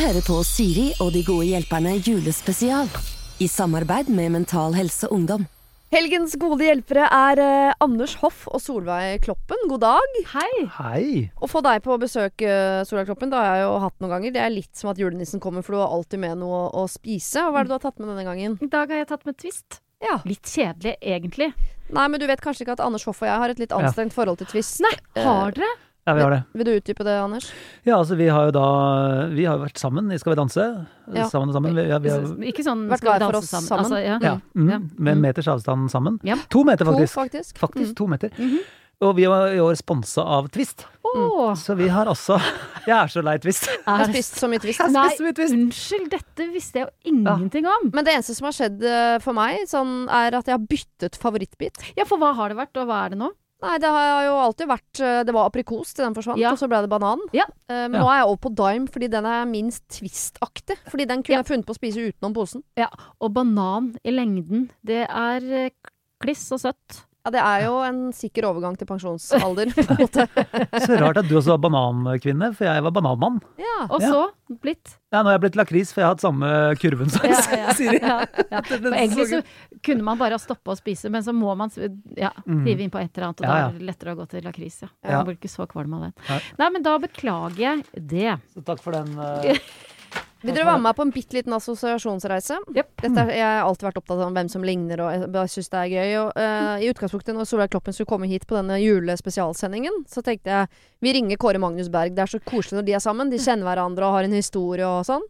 hører på Siri og de gode hjelperne julespesial i samarbeid med Mental Helse Ungdom. Helgens gode hjelpere er eh, Anders Hoff og Solveig Kloppen. God dag. Hei. Hei. Å få deg på besøk, eh, Solveig Kloppen, det har jeg jo hatt noen ganger. Det er litt som at julenissen kommer, for du har alltid med noe å, å spise. Og hva er det du har tatt med denne gangen? I dag har jeg tatt med twist. Ja. Litt kjedelig, egentlig. Nei, men du vet kanskje ikke at Anders Hoff og jeg har et litt anstrengt forhold til Twist. Nei, Eh, har dere? Ja, vi har det. Vil du utdype det, Anders? Ja, altså vi har jo da Vi har jo vært sammen i Skal vi danse. Ja. Sammen og sammen. Vi, ja, vi har, Ikke sånn Vært skal vi glad for danse oss sammen. sammen. Altså, ja. ja, Ja. mm, med en meters avstand sammen. Ja. To meter, faktisk. Mm. Mhm. To, faktisk. Mm. Faktisk to meter. Og vi var i år sponsa av Twist, Mm. Åh, så vi har også Jeg er så lei Twist. Jeg har er- spist så mye Twist. Nei, spist så mye Twist. unnskyld, dette visste jeg jo ingenting om. Men det eneste som har skjedd eh, for meg, sånn, er at jeg har byttet favorittbit. Ja, for hva har det vært, og hva er det nå? Nei, det har jo alltid vært eh, Det var aprikos til den forsvant, Ja. og så ble det banan. Ja. Eh, Men Ja. nå er jeg over på dime, fordi den er minst Twist-aktig. Fordi den kunne Ja. jeg funnet på å spise utenom posen. Og banan i lengden, det er eh, kliss og søtt. Ja, det er jo en sikker overgang til pensjonsalder, på en måte. Så rart at du også var banankvinne, for jeg var bananmann. Ja. Og Ja. så blitt. Ja, nå har jeg blitt lakris, for jeg har hatt samme kurven som Ja, ja, Siri. ja, ja. Den Og egentlig så sangen. kunne man bare stoppe å spise, men så må man s- ja, Mm. hive inn på et eller annet, og Ja, da ja. er det lettere å gå til lakris. Ja. Ja. Man blir ikke så kvalm av det. Nei. Nei, men da beklager jeg det. Så takk for den. eh, Vil dere være med meg på en bitte liten assosiasjonsreise? Jep. Dette, Mm. er- jeg har alltid vært opptatt av hvem som ligner, og jeg bare syns det er gøy. Og, Mm. eh, I utgangspunktet, når Solveig Kloppen skulle komme hit på denne julespesialsendingen, så tenkte jeg vi ringer Kåre Magnus Berg. Det er så koselig når de er sammen. De kjenner hverandre og har en historie og sånn.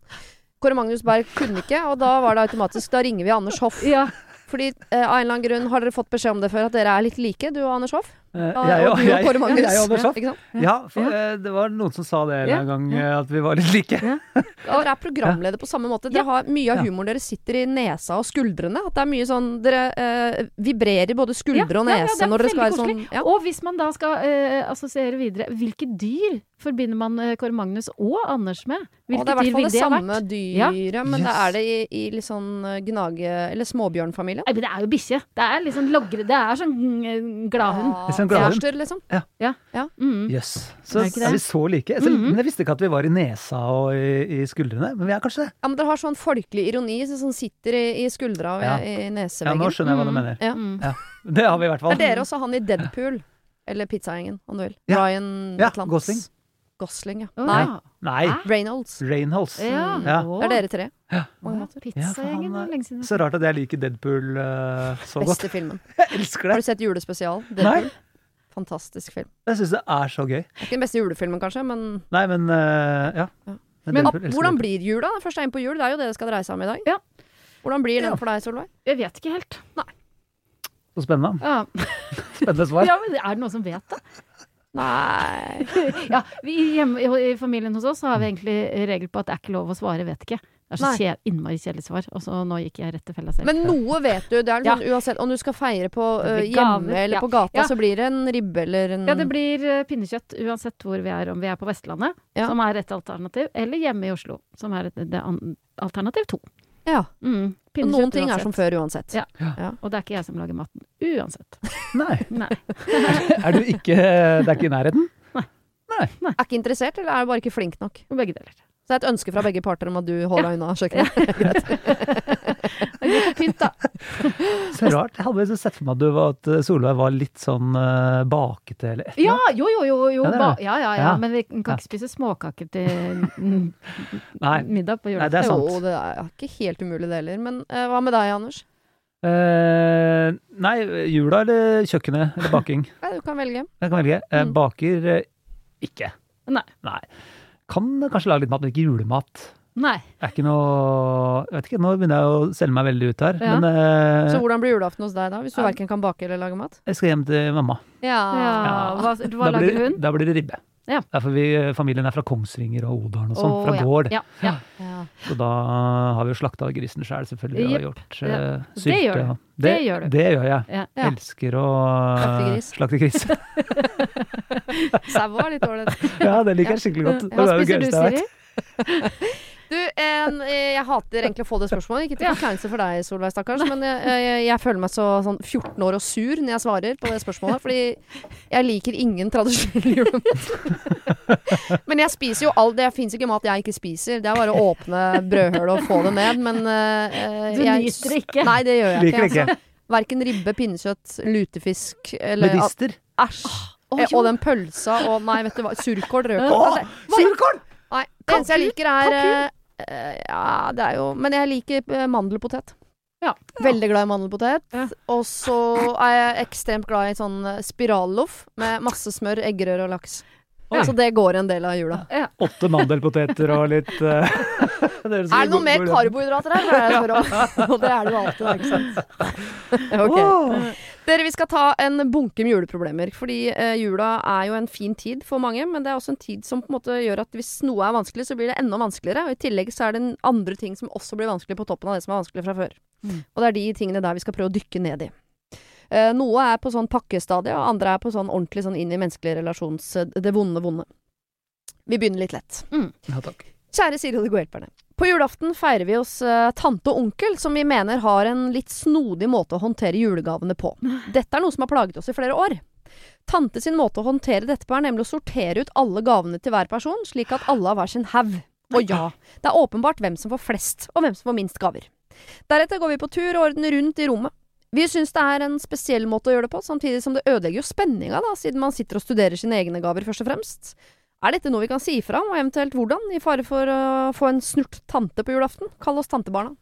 Kåre Magnus Berg kunne ikke, og da var det automatisk Da ringer vi Anders Hoff. Ja. Fordi eh, av en eller annen grunn har dere fått beskjed om det før, at dere er litt like, du og Anders Hoff. eh, Ja, jeg og og- du og jeg- Kåre Magnus. Jeg og Anders Hoff. Ikke sant? Ja, for Ja. eh, det var noen som sa det en Ja. eller annen gang, eh, at vi var litt like. Ja, dere er programleder på samme måte. Dere har Mye av humoren deres sitter i nesa og skuldrene. At det er mye sånn Dere eh, vibrerer i både skuldre og Ja, ja, nese ja, det er når dere skal være veldig sånn ja. Og hvis man da skal eh, assosiere videre, hvilke dyr forbinder man eh, Kåre Magnus og Anders med? Og Hvilke det er i hvert dyr fall vil det det ha samme vært? Ja. dyret, men det er det i, i litt sånn eh, gnage... Eller småbjørnfamilien. Nei, men det er jo bikkje. Det er liksom logre, det er sånn mm, gladhund. Ja, Litt sånn gladhund. Ah, Kjærester, liksom. Mm. Jøss. Så Er det ikke det? er vi så like. Så, Men jeg visste ikke at vi var i nesa og i, i skuldrene. Men vi er kanskje det. Ja, men dere har sånn folkelig ironi som som sitter i, i skuldra og Ja. i, i Ja, nå neseveggen. skjønner jeg hva du mener. Ja. Mm. Ja, Det har vi i hvert fall. Er dere også han i Deadpool? Eller Pizzagjengen, om du vil. Ja. Ryan Ja, Atlantis. Gosling. Gosling, ja. Å, Nei, ja. Nei. Hæ? Reynolds. Rainholds. Ja. Ja. Å, Det er dere tre. å, Ja, altså. for han Pizzagjengen det er- er lenge siden. Så rart at jeg liker Deadpool eh, så godt. Beste filmen. Jeg elsker Har det. du sett julespesial? Deadpool? Nei, Fantastisk film. jeg syns det er så gøy. Ikke den beste julefilmen, kanskje, men Nei, men eh, ja. Ja. Men Men Deadpool, elsker hvordan Deadpool. blir jula? Først er jeg inne på jul, det er jo det det skal dreie seg om i dag. Ja. Hvordan blir den Ja. for deg, Solveig? Jeg vet ikke helt. Så spennende. Ja. Spennende svar. ja, men Er det noen som vet det? Nei Ja, vi, hjemme, I familien hos oss har vi egentlig regel på at det er ikke lov å svare 'vet ikke'. Det er så Nei. kje, innmari kjedelig svar. Og så nå gikk jeg rett til fella selv. Men noe vet du. Det er Ja. liksom, Uansett om du skal feire på Det blir eh, hjemme gaver, eller ja. på gata, Ja. så blir det en ribbe eller en Ja, det blir eh, pinnekjøtt uansett hvor vi er, om vi er på Vestlandet, Ja. som er et alternativ, eller hjemme i Oslo, som er et, det an, alternativ to. Ja. Mm, Og pinnekjøtt Noen ting uansett. er som før uansett. Ja. Og det er ikke jeg som lager maten, uansett. Nei. Nei. Er du ikke Det er ikke i nærheten? Er ikke interessert, eller er du bare ikke flink nok? Begge deler. Så det er et ønske fra begge parter om at du holder deg unna kjøkkenet. Det er pynt, da. Så rart. Jeg hadde liksom sett for meg at, du var, at eh, Solveig var litt sånn eh, bakete eller et eller Ja, annet. jo, jo, jo. jo. Ja, det er ba- det. Ja, ja, ja, Ja. Men vi kan Ja. ikke spise småkaker til mm, Nei. middag på Nei, julaften. det er sant. Jo, det er ikke helt umulig det heller. Men eh, hva med deg, Anders? Eh, nei, jula eller kjøkkenet eller baking. Nei, du kan velge. Jeg kan velge. Eh, Mm. baker eh, ikke. Nei. Kan kanskje lage litt mat, men ikke julemat. Nei. Det er ikke noe Jeg vet ikke, nå begynner jeg å selge meg veldig ut her. Ja. Men eh, Så hvordan blir julaften hos deg da, hvis du Ja. verken kan bake eller lage mat? jeg skal hjem til mamma. Ja, hva, hva da, blir, lager hun? da blir det ribbe. Ja. Derfor vi, eh, familien er fra Kongsvinger og Odalen og sånn, Å, fra ja. gård. Ja, ja. Ja. Så da har vi jo slakta grisen sjøl, selv, selvfølgelig. Og gjort Ja. eh, Det sylte. gjør du. og- Det gjør du. Det gjør jeg. Ja. Ja. Elsker å Slakte gris. slakte gris. Sau var litt ålreit. ja, det liker jeg skikkelig godt. Ja. Det Hva er det spiser du, gøyeste jeg vet. Siri? Du, en, eh, jeg hater egentlig å få det spørsmålet. Ikke til forkleinelse for deg, Solveig, stakkars, men jeg, jeg, jeg føler meg så sånn 14 år og sur når jeg svarer på det spørsmålet. Fordi jeg liker ingen tradisjonell julemat. Men jeg spiser jo alt. Det fins ikke mat jeg ikke spiser. Det er bare å åpne brødhullet og få det ned. Men eh, Du jeg, nyter det ikke. Nei, det gjør jeg Liker det altså, ikke. ikke. Verken ribbe, pinnekjøtt, lutefisk eller Medister. Æsj. Å, Eh, jo. og den pølsa og Nei, vet du hva. Surkål, rødkål Å, Altså, surkål! Nei, det eneste jeg liker er eh, Ja, det er jo Men jeg liker eh, mandelpotet. Ja. Veldig glad i mandelpotet. Ja. Og så er jeg ekstremt glad i sånn eh, spiralloff med masse smør, eggerøre og laks. Oi. Så det går en del av jula. Åtte mandelpoteter og litt eh, det høres Er det noe god- mer god ut. karbohydrater her? tror jeg jeg spør om. Og det er det jo alltid, da, ikke sant. Ok. Åh. Dere, vi skal ta en bunke med juleproblemer. Fordi eh, jula er jo en fin tid for mange, men det er også en tid som på en måte gjør at hvis noe er vanskelig, så blir det enda vanskeligere. Og i tillegg så er det en andre ting som også blir vanskelig på toppen av det som er vanskelig fra før. Mm. Og det er de tingene der vi skal prøve å dykke ned i. Eh, noe er på sånn pakkestadie, og andre er på sånn ordentlig sånn inn i menneskelige relasjons... eh, Det vonde, vonde. Vi begynner litt lett. Ja, takk. Kjære Siri og de gode hjelperne. På julaften feirer vi hos eh, tante og onkel, som vi mener har en litt snodig måte å håndtere julegavene på. Dette er noe som har plaget oss i flere år. Tante sin måte å håndtere dette på er nemlig å sortere ut alle gavene til hver person, slik at alle har hver sin haug. Og ja, det er åpenbart hvem som får flest, og hvem som får minst gaver. Deretter går vi på tur og ordner rundt i rommet. Vi syns det er en spesiell måte å gjøre det på, samtidig som det ødelegger jo spenninga, da, siden man sitter og studerer sine egne gaver først og fremst. Er dette noe vi kan si ifra om, og eventuelt hvordan, i fare for å få en snurt tante på julaften? Kall oss tantebarna.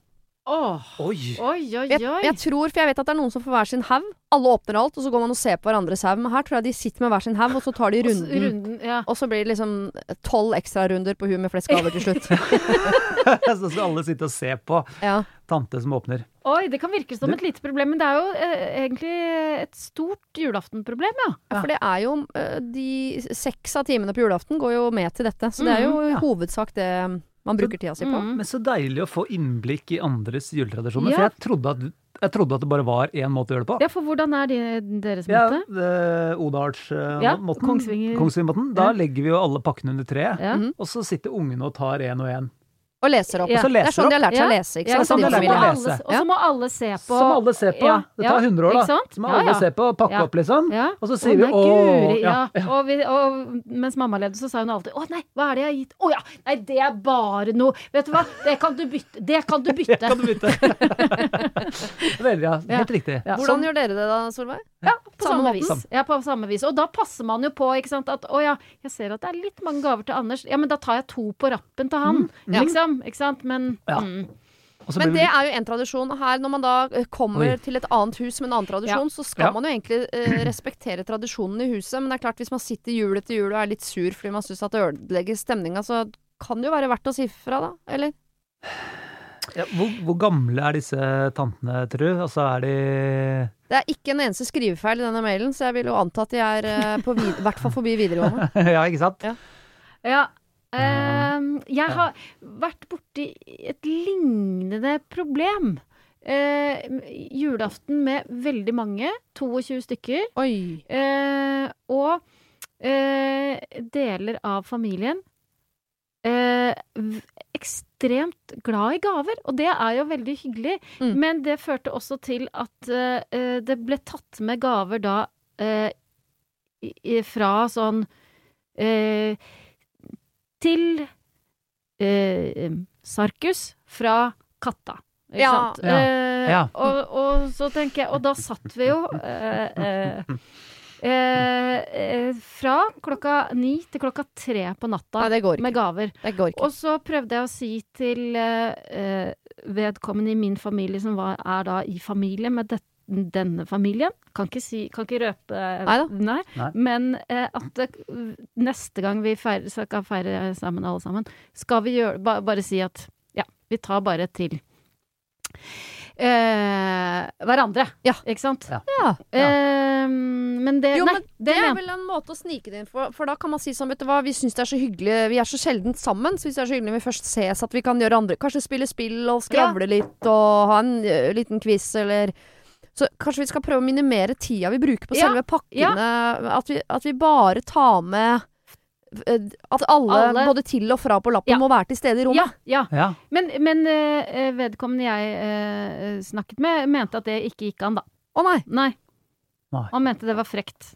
Åh, Oi. Oi, oi, Jeg, oi. jeg tror, for jeg vet at det er noen som får hver sin haug. Alle åpner alt, og så går man og ser på hverandres haug. Men her tror jeg de sitter med hver sin haug, og så tar de runden. Runden, ja. Og så blir det liksom tolv ekstrarunder på hun med flest gaver til slutt. Så skal alle sitte og se på Ja. tante som åpner. Oi, det kan virke som et lite problem, men det er jo eh, egentlig et stort julaftenproblem, ja. Ja, For det er jo eh, De seks av timene på julaften går jo med til dette. Så det er Mhm, jo i hovedsak det man bruker tida si på. Mm. Men så deilig å få innblikk i andres juletradisjoner. For Ja. jeg trodde, at, jeg trodde at det bare var én måte å gjøre det på. Ja, for hvordan er de, deres Ja, måte? eh, Odalsmåten. Ja, Kongsvinger- Kongsvingermåten. Da legger vi jo alle pakkene under treet, Ja. og så sitter ungene og tar én og én. Og leser opp. Ja. Og Det så er leser sånn de har lært seg Ja. å lese, ikke Ja, det er sant? sånn i de og så lærer familien. må å alle- lese. Og så må alle se på. Som alle ser på. Ja, Det ja, tar 100 år, ikke da. sant? Så må Ja, alle ja. se på, pakke Ja. opp, liksom. Ja. Og så sier vi nei, å guri, ja. ja. Og, vi, og mens mamma levde, så sa hun alltid 'Å nei, hva er det jeg har gitt?' 'Å ja, nei, det er bare noe Vet du hva, det kan du bytte. Det kan du bytte. Kan du bytte? Veldig, ja. Helt riktig. Sånn. Ja. Hvordan gjør dere det da, Solveig? på Samme samme, måten. vis. Ja, på samme vis. Og da passer man jo på ikke sant? at 'Å ja, jeg ser at det er litt mange gaver til Anders', ja, men da tar jeg to på rappen til han, liksom. Ikke sant? Men Ja. mm. Og så Men blir det vi- er jo en tradisjon. Her, når man da eh, kommer Oi. til et annet hus med en annen tradisjon, så skal Ja. man jo egentlig eh, respektere tradisjonen i huset. Men det er klart, hvis man sitter jul etter jul og er litt sur fordi man syns at det ødelegger stemninga, så kan det jo være verdt å si fra, da. Eller? ja, hvor, hvor gamle er disse tantene, tror du? Altså er de Det er ikke en eneste skrivefeil i denne mailen, så jeg vil jo anta at de er eh, på vid- i hvert fall forbi videregående. Ja, ikke sant? Ja. ehm, jeg har vært borti et lignende problem. Eh, julaften med veldig mange, 22 stykker. Oi. Eh, og eh, deler av familien eh, v- ekstremt glad i gaver. Og det er jo veldig hyggelig. Mm. Men det førte også til at eh, eh, det ble tatt med gaver da eh, i, i- fra sånn eh, Til eh, Sarkus fra Katta. Ikke Ja. sant? Ja. Eh, Ja. Og, og så tenker jeg Og da satt vi jo eh, eh, Eh, eh, fra klokka ni til klokka tre på natta Nei, det går ikke. med gaver. Det går ikke. Og så prøvde jeg å si til eh, eh, vedkommende i min familie, som var, er da i familie med det, denne familien Kan ikke, si, kan ikke røpe eh, Neida. den her, Nei. men eh, at det, neste gang vi feirer, skal feire sammen, alle sammen, skal vi gjøre, ba, bare si at ja, vi tar bare til eh, hverandre. Ja. Ikke sant? Ja. Ja. Eh, men det Jo, Nei, men det, Det er mente vel en måte å snike det inn for, for da kan man si sånn, vet du hva, vi syns det er så hyggelig, vi er så sjelden sammen, så hvis det er så hyggelig når vi først ses at vi kan gjøre andre, kanskje spille spill og skravle litt og ha en ø, liten quiz eller Så kanskje vi skal prøve å minimere tida vi bruker på Ja, selve pakkene, at, vi, at vi bare tar med eh, At alle, Alle. både til og fra på lappen, Ja. må være til stede i rommet. Ja, ja. Ja. Men, men eh, vedkommende jeg eh, snakket med, mente at det ikke gikk an, da. Å nei! Nei. Nei. Han mente det var frekt.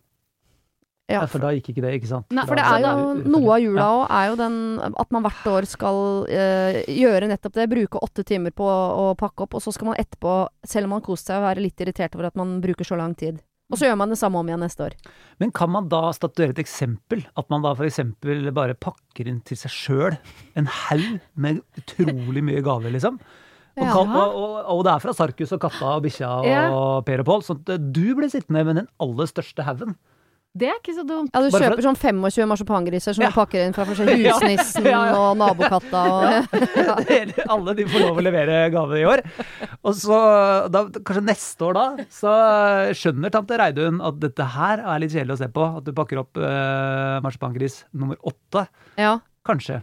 Ja. Ja, for da gikk ikke det, ikke sant? Nei, For det er jo noe av jula Ja. òg, er jo den at man hvert år skal eh, gjøre nettopp det. Bruke åtte timer på å pakke opp, og så skal man etterpå, selv om man koser seg, være litt irritert over at man bruker så lang tid. Og så gjør man det samme om igjen neste år. Men kan man da statuere et eksempel? At man da f.eks. bare pakker inn til seg sjøl en haug med utrolig mye gaver, liksom? Og, Ja. kan, og, og, og det er fra Sarkus og katta og bikkja og Ja. Per og Pål. Sånn at du blir sittende med den aller største haugen. Det er ikke så dumt. Ja, du Bare for kjøper sånn 25 marsipangriser som Ja. du pakker inn fra for eksempel husnissen Ja, ja. og nabokatta og Hele- Alle de får lov å levere gaver i år. Og så, da, kanskje neste år da, så skjønner tante Reidun at dette her er litt kjedelig å se på. At du pakker opp eh, marsipangris nummer åtte. Ja. Kanskje.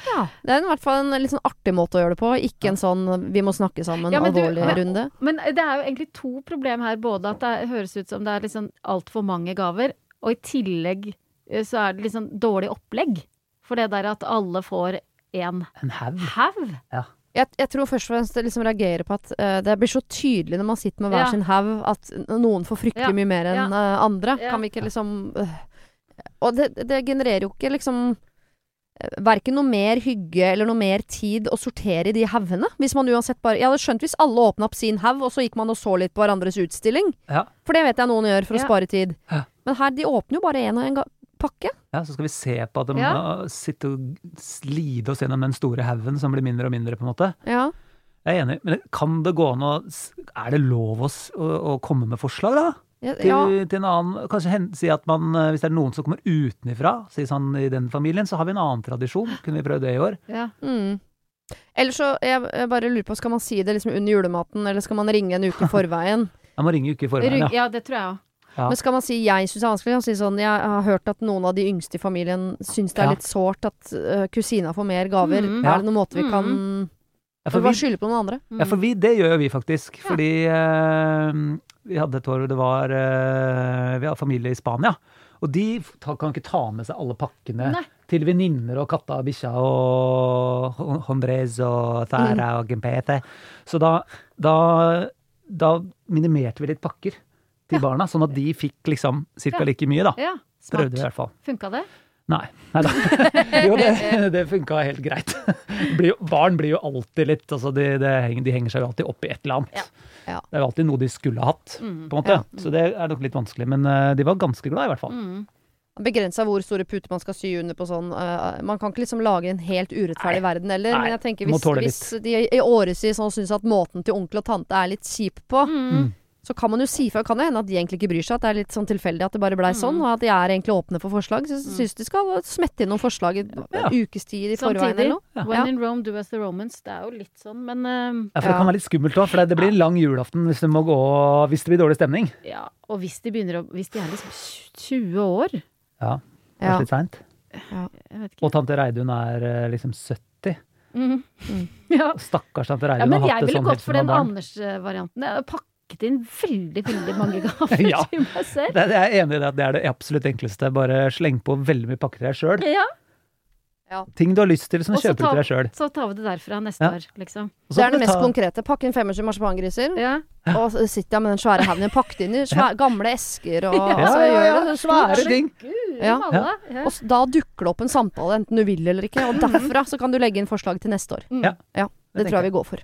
Det er i hvert fall en litt sånn artig måte å gjøre det på, ikke en sånn 'vi må snakke sammen' Ja, men du- alvorlig men- runde. Men eh, det er jo egentlig to problem her. Både at det høres ut som det er liksom altfor mange gaver, og i tillegg eh, så er det liksom dårlig opplegg. For det der at alle får én En haug. haug. Jeg, jeg tror først og fremst det liksom reagerer på at eh, det blir så tydelig når man sitter med hver Ja. sin haug, at noen får fryktelig Ja. mye mer enn eh, andre. Ja. Kan vi ikke liksom øh. Og det, det genererer jo ikke liksom Verken noe mer hygge eller noe mer tid å sortere i de haugene. Hvis man uansett bare Jeg hadde skjønt hvis alle åpna opp sin haug, og så gikk man og så litt på hverandres utstilling. Ja. For det vet jeg noen gjør for Ja. å spare tid. Ja. Men her, de åpner jo bare én og én ga- pakke. Ja, så skal vi se på at de Ja. må sitte og slide oss gjennom den store haugen som blir mindre og mindre, på en måte. Ja. Jeg er enig, men kan det gå an å s- Er det lov å, s- å, å komme med forslag, da? Ja, Til, ja. til en annen Kanskje hen, si at man, eh, hvis det er noen som kommer utenifra, si sånn i den familien, så har vi en annen tradisjon. Kunne vi prøvd det i år? Ja. Mm. Eller så, jeg, jeg bare lurer på, skal man si det liksom under julematen, eller skal man ringe en uke i forveien? Jeg må ringe uke i forveien, Rygg, ja. ja, det tror jeg òg. Ja. Men skal man si 'jeg syns det er vanskelig'? Og si sånn 'jeg har hørt at noen av de yngste i familien syns det er Ja. litt sårt at øh, kusina får mer gaver'. Mhm. Er det noen måte vi Mhm. kan Ja, Vi for bare vi, skylde på noen andre? ja, Mm. for vi, det gjør jo vi faktisk. Fordi eh, vi hadde et år hvor det var eh, Vi hadde familie i Spania. Og de f- ta, kan ikke ta med seg alle pakkene Nei. til venninner og katta og bikkja og Hon- Hondrez og Thara og Gempete. Så da, da, da minimerte vi litt pakker til barna, sånn at de fikk liksom Ja. cirka like mye, da. Ja, Prøvde vi i smart. hvert fall. Funka det? Nei. Nei da. Jo, det, det funka helt greit. Blir jo, barn blir jo alltid litt altså de, det henger, de henger seg jo alltid opp i et eller annet. Ja. Ja. Det er jo alltid noe de skulle hatt, på en måte. Så det er nok litt vanskelig. Men eh, de var ganske glad, i hvert fall. Begrensa hvor store puter man skal sy under på sånn. øh, man kan ikke liksom lage en helt urettferdig verden heller. Nei, Men jeg tenker du må hvis, tåle hvis de i årevis sånn syns at måten til onkel og tante er litt kjip på, Mm. så kan man jo si fra. Kan det hende at de egentlig ikke bryr seg, at det er litt sånn tilfeldig at det bare Mm. blei sånn, og at de er egentlig åpne for forslag. Så jeg syns de skal smette inn noen forslag i Ja. en ukes tid i forveien Samtidig. eller noe. When Ja. in Rome, do as the Romans. Det er jo litt sånn, men eh, Ja, for Det kan Ja. være litt skummelt òg, for det- det blir en lang julaften hvis det, må gå, hvis det blir dårlig stemning. ja. Og hvis de begynner å Hvis de er liksom 20 år Ja, det er Ja. litt sent. Jeg vet ikke. Og tante Reidun er eh, liksom 70. Mhm. Ja. Stakkars tante ja, Reidun men har hatt jeg det ville sånn helt gått for siden den hun var barn. Anders-varianten. Jeg har pakket inn veldig, veldig mange gaver Ja. til meg selv. Det, jeg er enig i det at det er det absolutt enkleste. Bare sleng på veldig mye pakker til deg sjøl. Ja, Ting du har lyst til, som Og så kjøper du ta- til deg sjøl. Så tar vi det derfra neste Ja. år, liksom. Og så Det kan er det du mest ta- konkrete. Pakke inn 25 marsipangriser, Ja. og så sitter jeg med den svære haugen pakket inn i svæ- gamle esker og Ja, altså, ja, gjør ja, det svære stort. ting. Gud, Ja. Malla. Ja. Og s- da dukker det opp en samtale, enten du vil eller ikke. Og derfra så kan du legge inn forslag til neste år. Ja. det tror jeg vi går for.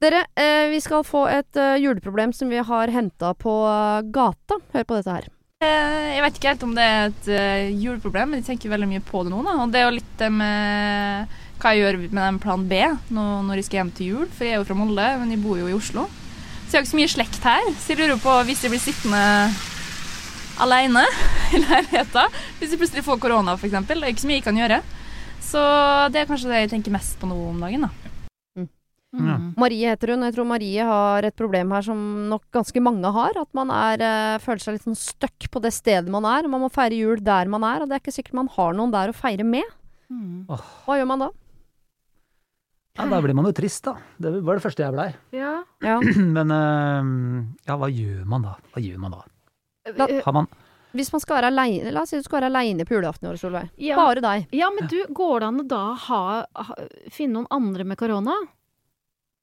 Dere, eh, vi skal få et eh, juleproblem som vi har henta på eh, gata. Hør på dette her. Eh, Jeg vet ikke helt om det er et eh, juleproblem, men jeg tenker veldig mye på det nå. Da. Og det er jo litt det med hva jeg gjør med den plan B nå, når jeg skal hjem til jul. For jeg er jo fra Molde, men jeg bor jo i Oslo. Så jeg har ikke så mye slekt her. Så jeg lurer på hvis jeg blir sittende alene i leiligheten. Hvis jeg plutselig får korona, f.eks. Det er ikke så mye jeg kan gjøre. Så det er kanskje det jeg tenker mest på nå om dagen. da. Mm. Marie heter hun, og jeg tror Marie har et problem her som nok ganske mange har. At man er, eh, føler seg litt sånn stuck på det stedet man er. og Man må feire jul der man er, og det er ikke sikkert man har noen der å feire med. Mm. Hva gjør man da? Ja, da blir man jo trist, da. Det var det første jeg blei. Ja. Ja. Men eh, ja, hva gjør man da? Hva gjør man da? Eh, Har man, hvis man skal være aleine La oss si du skal være aleine på julaften i år, Solveig. Ja. Bare deg. Ja, men du, går det an å da ha, ha, finne noen andre med korona?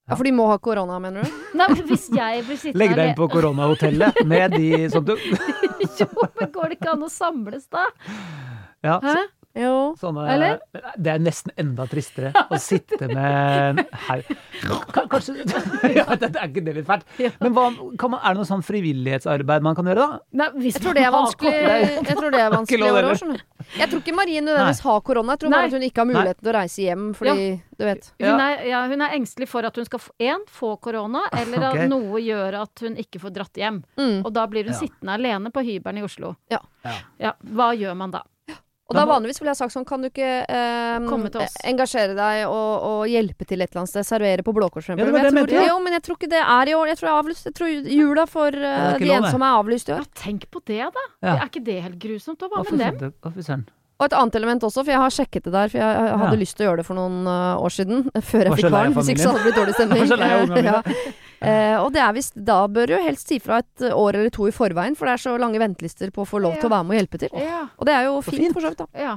Ja, for de må ha korona, mener du? Nei, men hvis jeg blir sittende Legg deg inn alene- på koronahotellet med de sånn- som du Jo, men går det ikke an å samles da? Ja, Hæ? Jo. Sånne, Eller? Det er nesten enda tristere å sitte med en haug K- Kanskje ja, Det er ikke det litt fælt. Men hva, kan man, er det noe sånn frivillighetsarbeid man kan gjøre, da? Nei, hvis Jeg tror det er man har vanskelig korona. Jeg tror det er vanskelig Ikke lov i år heller. også, skjønner du. Jeg tror ikke Marie nødvendigvis har korona. Jeg tror Nei. bare at hun ikke har muligheten til å reise hjem fordi Du vet. Hun, er, ja, hun er engstelig for at hun skal få, en, få korona, eller Ok. at noe gjør at hun ikke får dratt hjem. Mm. Og da blir hun Ja. sittende alene på hybelen i Oslo. Ja. Ja. Ja, hva gjør man da? Og Da da må- vanligvis ville jeg sagt sånn, kan du ikke ehm, Komme til oss. engasjere deg og, og hjelpe til et eller annet sted? Servere på Blå Kors, for Ja, det eksempel. var det Men jeg jeg mente, tror, ja. jo, men jeg tror ikke det er i år. Jeg tror, det er avlyst. jeg tror jula for eh, ikke de lov, det. ensomme er avlyst i år. Ja, tenk på det, da! Ja. Er ikke det helt grusomt? Og hva Å, fy med dem? søren, å, fy søren. Og et annet element også, for jeg har sjekket det der, for jeg eh, hadde Ja. lyst til å gjøre det for noen eh, år siden, før Var jeg så fikk lei av barn, hvis ikke så hadde det blitt dårlig stemning. Var så lei av ungene mine. Ja. Eh, og det er visst, da bør du helst si fra et år eller to i forveien, for det er så lange ventelister på å få lov til å være med og hjelpe til. Ja, Og det er jo fint, fint. for så vidt, da. ja.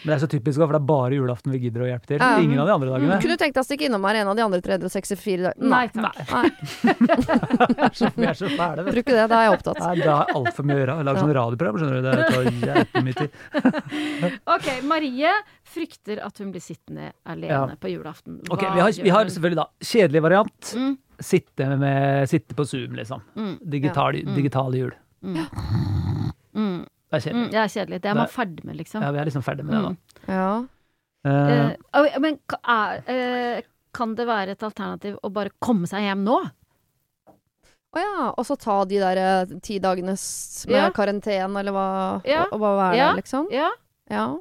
Men det er så typisk, også, for det er bare julaften vi gidder å hjelpe til. Ja. Ingen av de andre dagene. Mm. Kunne du tenkt deg å stikke innom her en av de andre 364 dagene? Nei takk. Nei, Så Vi er så fæle, vet du. tror ikke det. Da er jeg opptatt. Nei, det er altfor mye å gjøre. Lag sånn radioprogram, skjønner du. Det tar jævlig mye tid. Ok, Marie frykter at hun blir sittende alene Ja. på julaften. Hva Ok, vi har, gjør vi har hun? selvfølgelig da kjedelig variant. Mm. Sitte, med, sitte på Zoom, liksom. Mm. Digital, digitale jul. Mm. Det er kjedelig. Mm, det er kjedelig. Det er man ferdig med, liksom. Ja, vi er liksom ferdig med det, da. Ja. Eh, Eh, oi, men ka- er, eh, kan det være et alternativ å bare komme seg hjem nå? Å ja. Og så ta de der eh, ti dagene s- med Ja. karantene, eller hva, Ja. og, og hva er det, Ja. liksom? Ja. Ja.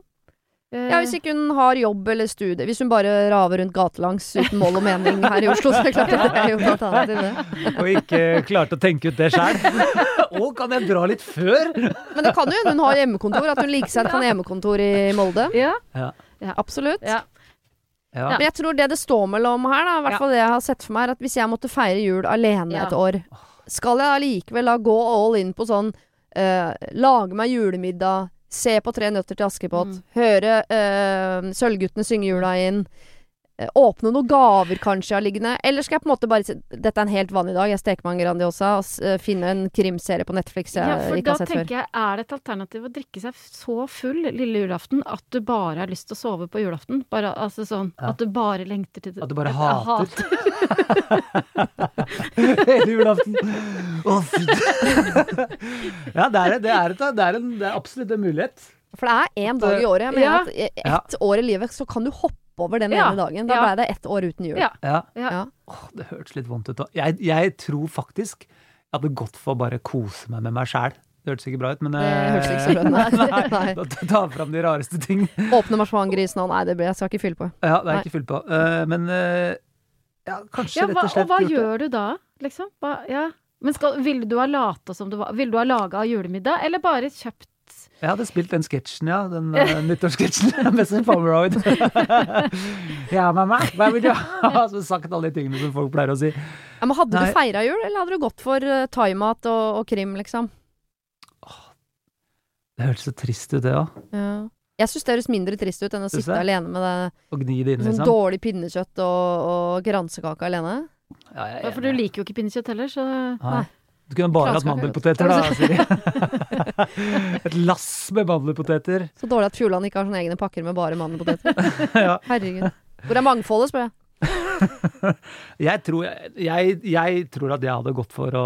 Eh, ja, hvis ikke hun har jobb eller studie. Hvis hun bare raver rundt gatelangs uten mål og mening her i Oslo, så er det klart at det er jo et alternativ, det. og ikke klarte å tenke ut det sjøl. Å, kan jeg dra litt før? Men det kan jo hende hun har hjemmekontor, at hun like sett kan ha hjemmekontor i Molde. ja. Absolutt. Ja. Ja. Men jeg tror det det står mellom her, da, i hvert Ja. fall det jeg har sett for meg, er at hvis jeg måtte feire jul alene Ja. et år, skal jeg allikevel da gå all in på sånn eh, Lage meg julemiddag, se på Tre nøtter til Askepott, Mm. høre eh, Sølvguttene synge jula inn. eh, Åpne noen gaver kanskje jeg har liggende. Eller skal jeg på en måte bare si Dette er en helt vanlig dag. Jeg steker meg en Grandiosa og s- eh, finne en krimserie på Netflix jeg ja, for ikke da har sett før. tenker jeg, er det et alternativ å drikke seg så full lille julaften at du bare har lyst til å sove på julaften? Bare, altså sånn, Ja. At du bare lengter til det. At du bare Jeg hater. Hele julaften. Å, fy Ja, det er, det, er et, det, er en, det er absolutt en mulighet. For det er én dag i året. Jeg mener Ja. at i- ett Ja. år i livet så kan du hoppe over den Ja. ene dagen. Da Ja. ble det ett år uten jul. Ja. Ja. Ja. Ja. Åh, det hørtes litt vondt ut. da. Jeg, jeg tror faktisk jeg hadde gått for å bare kose meg med meg sjæl. Det hørtes ikke bra ut, men eh, Det hørtes ikke så bra ut, ut. nei. Nei. Ta fram de rareste ting. Åpne marsipangrisen og Nei, det blir jeg skal ikke fylle på. Ja, det er Nei. ikke fullt på. Eh, men eh, ja, kanskje Ja, rett hva, og slett og hva gjort det. gjør du da, liksom? Hva, ja. Men skal, ville du ha lata som du var Ville du ha laga julemiddag, eller bare kjøpt Jeg hadde spilt den sketsjen, ja. Den uh, nyttårssketsjen med sin Pomeroid. ja, mamma, hva vil du ha? Så sagt alle de tingene som folk pleier å si. Ja, men hadde Nei. du feira jul, eller hadde du gått for uh, thaimat og, og krim, liksom? Det hørtes så trist ut, det òg. Ja. Jeg syns det høres mindre trist ut enn å Synes sitte det? alene med det Å gni det inn, sånn liksom. dårlig pinnekjøtt og, og gransekake alene. Ja, jeg er Ja, For du enig. liker jo ikke pinnekjøtt heller, så Nei. Du kunne bare hatt Franskkaker. mandelpoteter, da, Siri. Et lass med mandelpoteter. Så dårlig at Fjordland ikke har sånne egne pakker med bare mandelpoteter. Ja. Herregud. Hvor er mangfoldet, spør jeg. Jeg tror, jeg, jeg tror at jeg hadde gått for å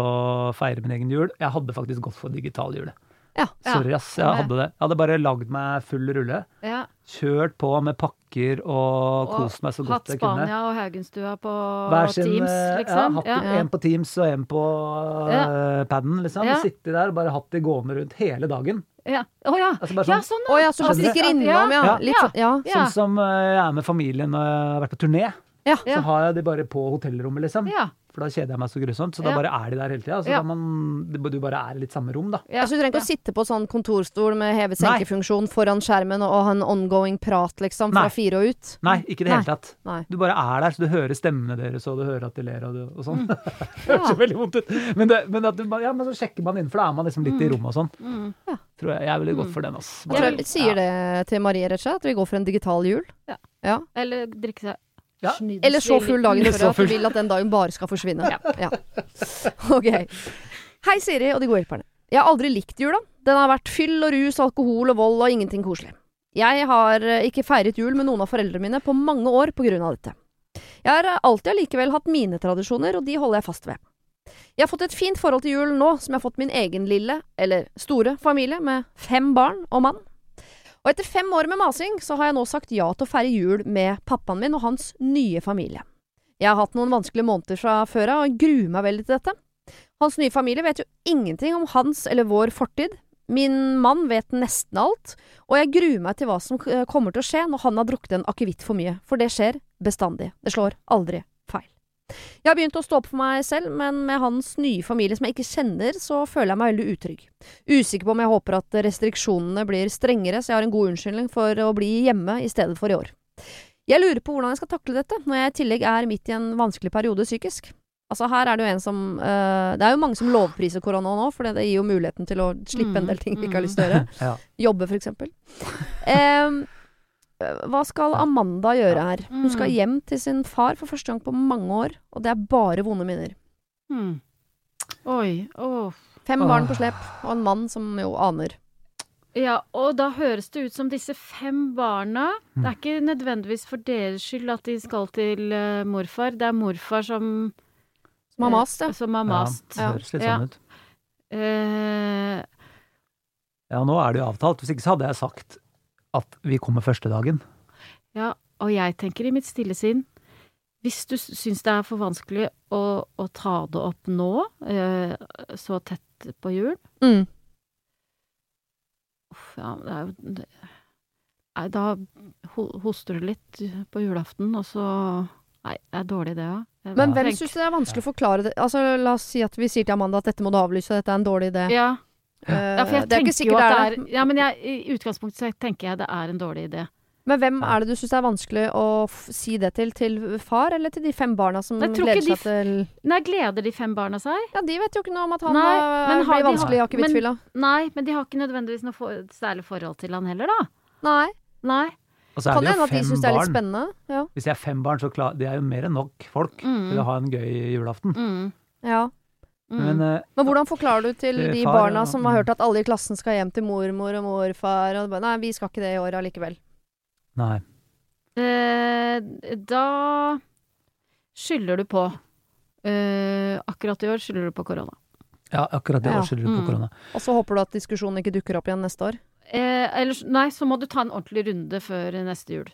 feire min egen jul. Jeg hadde faktisk gått for digital jul. Ja. Sorry, ass. Jeg hadde det. Jeg hadde bare lagd meg full rulle. ja. Kjørt på med pakker og kost meg så Hatt godt jeg kunne. Spania og Haugenstua på Hver sin, Teams, eh, liksom. Ja, hatt Ja. En på Teams og en på Ja. eh, paden, liksom. Ja. Sitte der og bare hatt de gående rundt hele dagen. ja. Å ja. Altså bare ja, sånn- sånn, Å ja, så man Skjønner du? stikker innom, ja. Ja. Litt sånn, ja. Ja. Sånn som eh, jeg er med familien og jeg har vært på turné. Ja. Så har jeg de bare på hotellrommet, liksom. Ja. For da kjeder jeg meg så grusomt. Så da Ja. bare er de der hele tida. Så Ja. da man, det- du bare er i litt samme rom, da. ja. Altså, du trenger ikke å sitte på sånn kontorstol med Nei. hevet-senkefunksjon foran skjermen og ha en ongoing prat, liksom, fra Nei. fire og ut. Nei, ikke i det hele tatt. Nei. Du bare er der, så du hører stemmene deres, og du hører at de ler og, du- Mm. og sånn. det høres jo veldig vondt ut. Men, det, men, at du, bare- ja, men så sjekker man innenfor, da er man liksom litt i rommet og sånn. Mm. Tror jeg, jeg ville gått for den, altså. Jeg tror jeg sier det til Marie, rett og slett. At vi går for en digital jul. Ja. Ja. Eller drikke seg Ja. Snydesvill. Eller så full dagen Så før at du full. vil at den dagen bare skal forsvinne. Ja. Ok. Hei, Siri og de gode hjelperne. Jeg har aldri likt jula. Den har vært fyll og rus, alkohol og vold og ingenting koselig. Jeg har eh, ikke feiret jul med noen av foreldrene mine på mange år på grunn av dette. Jeg har eh, alltid allikevel hatt mine tradisjoner, og de holder jeg fast ved. Jeg har fått et fint forhold til julen nå som jeg har fått min egen lille, eller store, familie med fem barn og mann. Og etter fem år med masing, så har jeg nå sagt ja til å feire jul med pappaen min og hans nye familie. Jeg har hatt noen vanskelige måneder fra før av, og jeg gruer meg veldig til dette. Hans nye familie vet jo ingenting om hans eller vår fortid. Min mann vet nesten alt, og jeg gruer meg til hva som eh, kommer til å skje når han har drukket en akevitt for mye, for det skjer bestandig. Det slår aldri feil. Jeg har begynt å stå opp for meg selv, men med hans nye familie som jeg ikke kjenner, så føler jeg meg veldig utrygg. Usikker på om jeg håper at restriksjonene blir strengere, så jeg har en god unnskyldning for å bli hjemme i stedet for i år. Jeg lurer på hvordan jeg skal takle dette, når jeg i tillegg er midt i en vanskelig periode psykisk. Altså her er Det jo en som, eh, det er jo mange som lovpriser korona nå, for det gir jo muligheten til å slippe en del ting vi ikke har lyst til å gjøre. Ja. Jobbe, for eksempel. Em, hva skal Amanda gjøre her? Hun skal hjem til sin far for første gang på mange år, og det er bare vonde minner. Mm. Oi. Åh. Fem barn på slep, og en mann som jo aner. Ja, og da høres det ut som disse fem barna Hmm. Det er ikke nødvendigvis for deres skyld at de skal til eh, morfar. Det er morfar som eh, Som har mast, ja. Som har Ja, mast. det høres litt Ja. sånn ut. Eh, Ja, nå er det jo avtalt. Hvis ikke så hadde jeg sagt at vi kommer første dagen. ja, og jeg tenker i mitt stille sinn Hvis du s- syns det er for vanskelig å, å ta det opp nå, eh, så tett på jul Mm. Uff, ja, det er jo det, Nei, da ho- hoster du litt på julaften, og så Nei, det er dårlig, det òg. Men Ja. hvem syns det er vanskelig å forklare det? Altså, la oss si at vi sier til Amanda at dette må du avlyse, dette er en dårlig idé. Ja. Eh, Ja, for jeg det er ikke tenker jo sikkert at det er det. Ja, men jeg, i utgangspunktet så tenker jeg det er en dårlig idé. Men hvem er det du syns det er vanskelig å f si det til? Til far, eller til de fem barna som Jeg tror ikke gleder de seg til Nei, gleder de fem barna seg? Ja, de vet jo ikke noe om at han Nei, da men blir har de- vanskelig i akevittfylla. Nei, men de har ikke nødvendigvis noe for, særlig forhold til han heller, da. Nei. Nei. Og så er Kan det hende jo at de fem syns det er litt barn. spennende. Ja. Hvis det er fem barn, så klar, det er jo mer enn nok folk Mm. til å ha en gøy julaften. Mm. ja. Mm. Men eh, Men hvordan forklarer du til Til de far, barna ja. som har hørt at alle i klassen skal hjem til mormor og morfar og bare, Nei, vi skal ikke det i år allikevel. nei. Eh, da skylder du på eh, Akkurat i år skylder du på korona. Ja, akkurat det Ja. år skylder du på Mm. korona. Og så håper du at diskusjonen ikke dukker opp igjen neste år. Eh, ellers, nei, så må du ta en ordentlig runde før neste jul.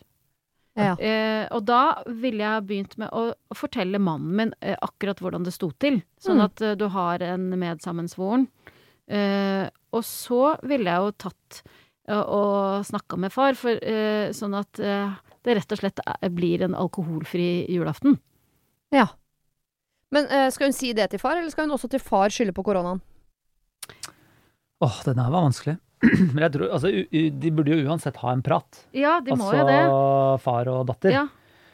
Ja. Eh, og da ville jeg ha begynt med å å fortelle mannen min eh, akkurat hvordan det sto til. Sånn Mm. at eh, du har en medsammensvoren. Eh, og så ville jeg jo tatt eh, og snakka med far, for, eh, sånn at eh, det rett og slett er, blir en alkoholfri julaften. ja. Men eh, skal hun si det til far, eller skal hun også til far skylde på koronaen? Åh, den her var vanskelig. Men jeg tror, altså, u u de burde jo uansett ha en prat. Ja, de må altså jo det. far og datter. Ja.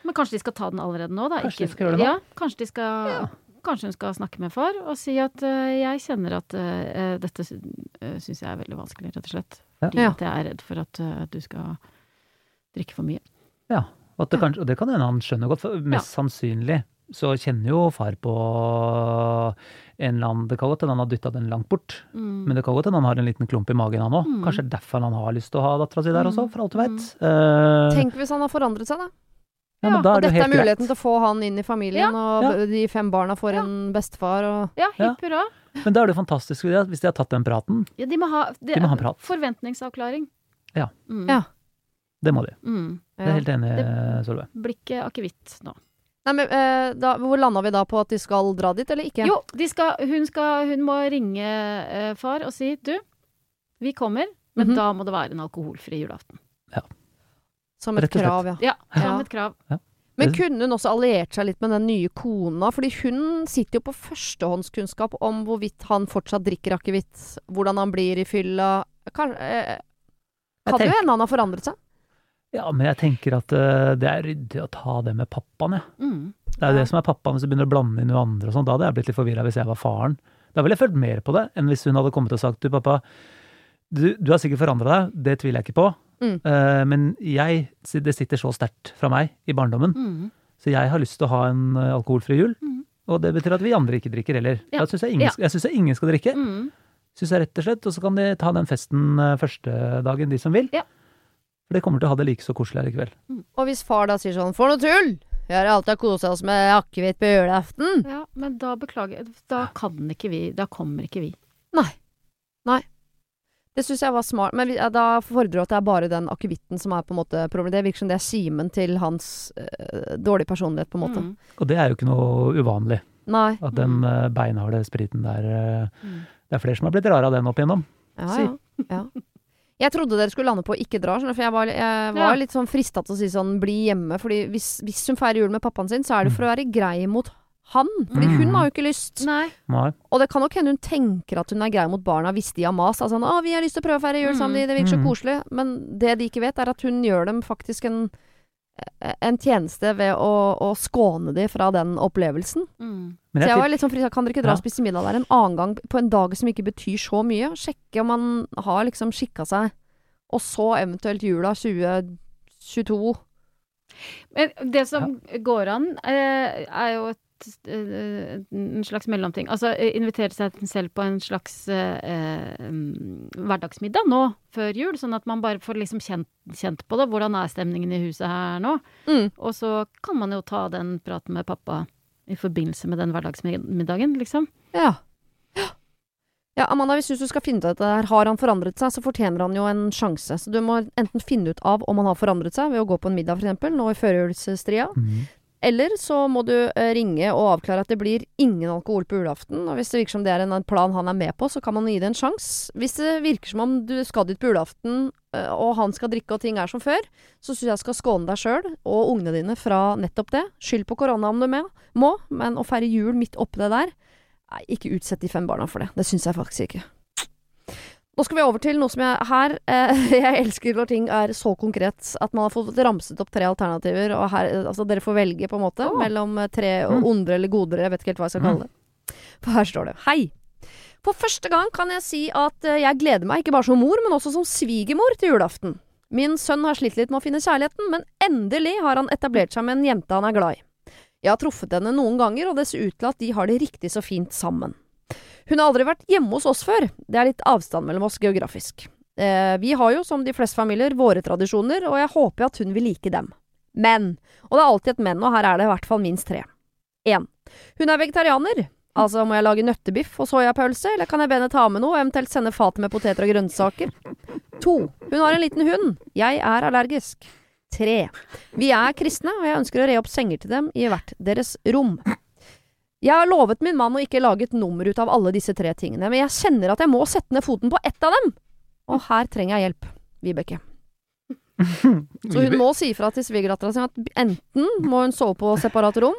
Men kanskje de skal ta den allerede nå, da. Kanskje de skal gjøre det nå? Ja, kanskje, de skal, kanskje hun skal snakke med far og si at eh, jeg kjenner at eh, dette sy syns jeg er veldig vanskelig, rett og slett. Ja. Fordi Ja. at jeg er redd for at eh, du skal drikke for mye. Og, at det kanskje, og det kan hende han skjønner godt, for mest sannsynlig så kjenner jo far på en eller annen Det kan godt hende han har dytta den langt bort, men det kan godt hende han har en liten klump i magen, han òg. Mm. Kanskje det er derfor han har lyst til å ha dattera si der også, for alt du veit. Mm. Tenk hvis han har forandret seg, da. ja, men Og Eh. da er det dette jo er helt greit. muligheten til å få han inn i familien, ja. og de fem barna får Ja. en bestefar og Ja, Ja. hipp hurra. Men da er det jo fantastisk hvis de har- hvis de har tatt den praten. Ja, de må ha, det De må ha er en prat. Forventningsavklaring. Ja. Mm. Ja. Det må de. Mm. Det er Ja. helt enig, Solveig. Blir ikke akevitt nå. Nei, men eh, da, Hvor landa vi da på at de skal dra dit, eller ikke? Jo, de skal, hun, skal, hun må ringe eh, far og si du, vi kommer, men Mhm. da må det være en alkoholfri julaften. Som et Rett og slett. krav, ja. Ja, Ja. som et krav. Men Det- kunne hun også alliert seg litt med den nye kona? Fordi hun sitter jo på førstehåndskunnskap om hvorvidt han fortsatt drikker akevitt, hvordan han blir i fylla Kan, eh, kan det jo tenker- hende han har forandret seg? Ja, men jeg tenker at eh, det er ryddig å ta det med pappaen, jeg. Mm. Det er jo det som er pappaen hvis du begynner å blande inn noen andre og sånn. Da hadde jeg blitt litt forvirra hvis jeg var faren. Da ville jeg følt mer på det enn hvis hun hadde kommet og sagt du, pappa, du, du har sikkert forandra deg, det tviler jeg ikke på, Mm. Eh, men jeg, det sitter så sterkt fra meg i barndommen, Mm. så jeg har lyst til å ha en eh, alkoholfri jul. Mm. Og det betyr at vi andre ikke drikker heller. Ja. Da syns jeg, ingen- Ja. jeg synes jeg ingen skal drikke. Mm. Synes jeg rett Og slett, og så kan de ta den festen eh, første dagen, de som vil. Ja. For de kommer til å ha det like så koselig her i kveld. Og hvis far da sier sånn For noe tull! Vi har alltid kosa oss med akevitt på julaften. Ja, men da beklager jeg. Da kan ikke vi. Da kommer ikke vi. Nei. Nei. Det syns jeg var smart, men vi- ja, da fordrer det at det er bare den akevitten som er på en måte problemet. Det virker som det er kimen til hans eh, dårlige personlighet, på en måte. Mm. Og det er jo ikke noe uvanlig. Nei. At den eh, beinharde spriten der eh, Mm. Det er flere som har blitt rare av den opp igjennom. Ja, Si. ja. ja. Jeg trodde dere skulle lande på ikke dra, skjønner du, for jeg var, jeg var Ja. litt sånn frista til å si sånn bli hjemme. Fordi hvis, hvis hun feirer jul med pappaen sin, så er det for å være grei mot han. Fordi Mm. hun har jo ikke lyst. Nei. Nei. Og det kan nok hende hun tenker at hun er grei mot barna hvis de har mas. Altså, sånn, å, vi har lyst til å prøve å feire jul sammen, det virker så Mm. koselig. Men det de ikke vet, er at hun gjør dem faktisk en, en tjeneste ved å, å skåne dem fra den opplevelsen. Mm. Men så jeg jeg, var litt sånn frista, kan dere ikke dra og Ja. spise middag der en annen gang på en dag som ikke betyr så mye? Sjekke om man har liksom skikka seg, og så eventuelt jula 2022. Men det som går an, eh, er jo et, eh, en slags mellomting. Altså eh, invitere seg selv på en slags eh, eh, mm, hverdagsmiddag nå før jul, sånn at man bare får liksom kjent, kjent på det. Hvordan er stemningen i huset her nå? Mm. Og så kan man jo ta den praten med pappa i forbindelse med den hverdagsmiddagen, liksom. Ja. Ja, Amanda, hvis du synes du skal finne ut av dette her, har han forandret seg, så fortjener han jo en sjanse. Så du må enten finne ut av om han har forandret seg ved å gå på en middag, for eksempel, nå i førjulsstria. mm. Eller så må du eh, ringe og avklare at det blir ingen alkohol på julaften. Og hvis det virker som det er en plan han er med på, så kan man gi det en sjanse. Hvis det virker som om du skal dit på julaften, eh, og han skal drikke og ting er som før, så syns jeg skal skåne deg sjøl og ungene dine fra nettopp det. Skyld på korona om du med, må, men å feire jul midt oppi det der Nei, ikke utsett de fem barna for det. Det syns jeg faktisk ikke. Nå skal vi over til noe som jeg her eh, Jeg elsker når ting er så konkret at man har fått ramset opp tre alternativer, og her eh, Altså, dere får velge, på en måte, mellom eh, tre og ondre eller godere, jeg vet ikke helt hva jeg skal kalle det. For her står det Hei! For første gang kan jeg si at eh, jeg gleder meg ikke bare som mor, men også som svigermor til julaften. Min sønn har slitt litt med å finne kjærligheten, men endelig har han etablert seg med en jente han er glad i. Jeg har truffet henne noen ganger, og det ser ut til at de har det riktig så fint sammen. Hun har aldri vært hjemme hos oss før. Det er litt avstand mellom oss geografisk. Eh, vi har jo, som de fleste familier, våre tradisjoner, og jeg håper at hun vil like dem. Men. Og det er alltid et men, og her er det i hvert fall minst tre. 1. Hun er vegetarianer. Altså, må jeg lage nøttebiff og soyapølse, eller kan jeg be henne ta med noe, og eventuelt sende fatet med poteter og grønnsaker? 2. Hun har en liten hund. Jeg er allergisk. 3. Vi er kristne, og jeg ønsker å re opp senger til dem i hvert deres rom. Jeg har lovet min mann å ikke lage et nummer ut av alle disse tre tingene, men jeg kjenner at jeg må sette ned foten på ett av dem. Og her trenger jeg hjelp. Vibeke. Så hun må si ifra til svigerdattera si at enten må hun sove på separat rom,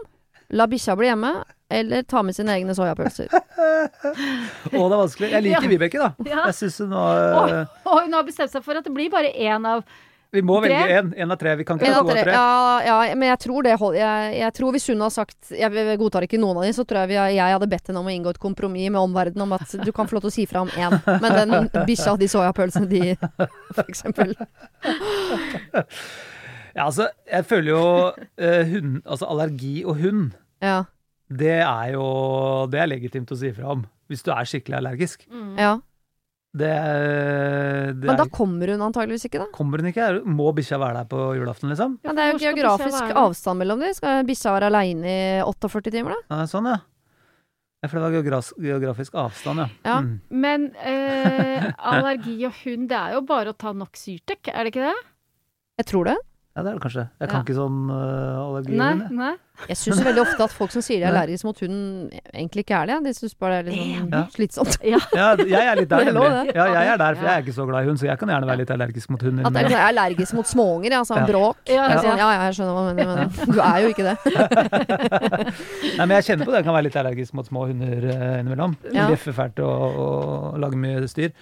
la bikkja bli hjemme, eller ta med sine egne soyapølser. Å, det er vanskelig. Jeg liker Ja. Vibeke, da. Ja. Jeg synes hun var eh, Og hun har bestemt seg for at det blir bare én av Vi må Tre? velge én. Én av tre. Vi kan ikke En ta av to av tre. tre. Ja, ja, men jeg tror det hold, jeg, jeg tror hvis hun har sagt Jeg jeg godtar ikke noen av de, så tror jeg vi, har- jeg hadde bedt henne om å inngå et kompromiss med omverdenen om at du kan få lov til å si fra om én, men den bikkja og de soyapølsene, de For eksempel. Ja, altså, jeg føler jo eh, hund, altså allergi og hund, Ja. det er jo Det er legitimt å si ifra om. Hvis du er skikkelig allergisk. ja. Det, er- Mm. det Men da er, kommer hun antageligvis ikke, da. kommer hun ikke. Er- Må bikkja være der på julaften, liksom? Ja, det er jo Hvor skal geografisk bikkja være? avstand mellom dem. Skal bikkja være aleine i 48 timer, da? Ja, sånn, ja. Ja, For det var geogras- geografisk avstand, ja. Ja. Mm. Men eh, allergi og hund, det er jo bare å ta nok Syrtec, er det ikke det? Jeg tror det. Ja, det er det kanskje. Jeg kan Ja. ikke sånn øh, allergi. Nei, men jeg- nei. Jeg syns veldig ofte at folk som sier de er allergiske mot hund, egentlig ikke er det. De syns bare det er litt sånn Ja. slitsomt. Ja, jeg er litt der, Det er lov, nemlig. det. Ja, jeg er der, for jeg er ikke så glad i hund, så jeg kan gjerne være litt allergisk mot hunder. At jeg men- er allergisk mot småunger, ja, sånn Ja. bråk. Ja, Jeg er ja. sånn, ja, ja, jeg skjønner hva du mener, men du er jo ikke det. Nei, men jeg kjenner på det. Jeg kan være litt allergisk mot små hunder eh, innimellom. Ja. De Bjeffer fælt og, og lager mye styr.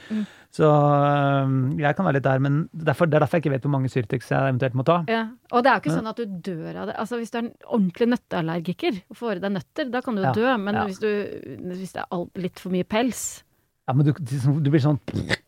Så eh, jeg kan være litt der, men derfor, det er derfor jeg ikke vet hvor mange Syrtex jeg eventuelt må ta. Ja. Og det er jo ikke Ja. sånn at du dør av det. Altså, hvis du er en ordentlig nøtteallergiker og får i deg nøtter, da kan du jo Ja, dø. Men ja. hvis, du, hvis det er alt, litt for mye pels Ja, men du, de som, du blir sånn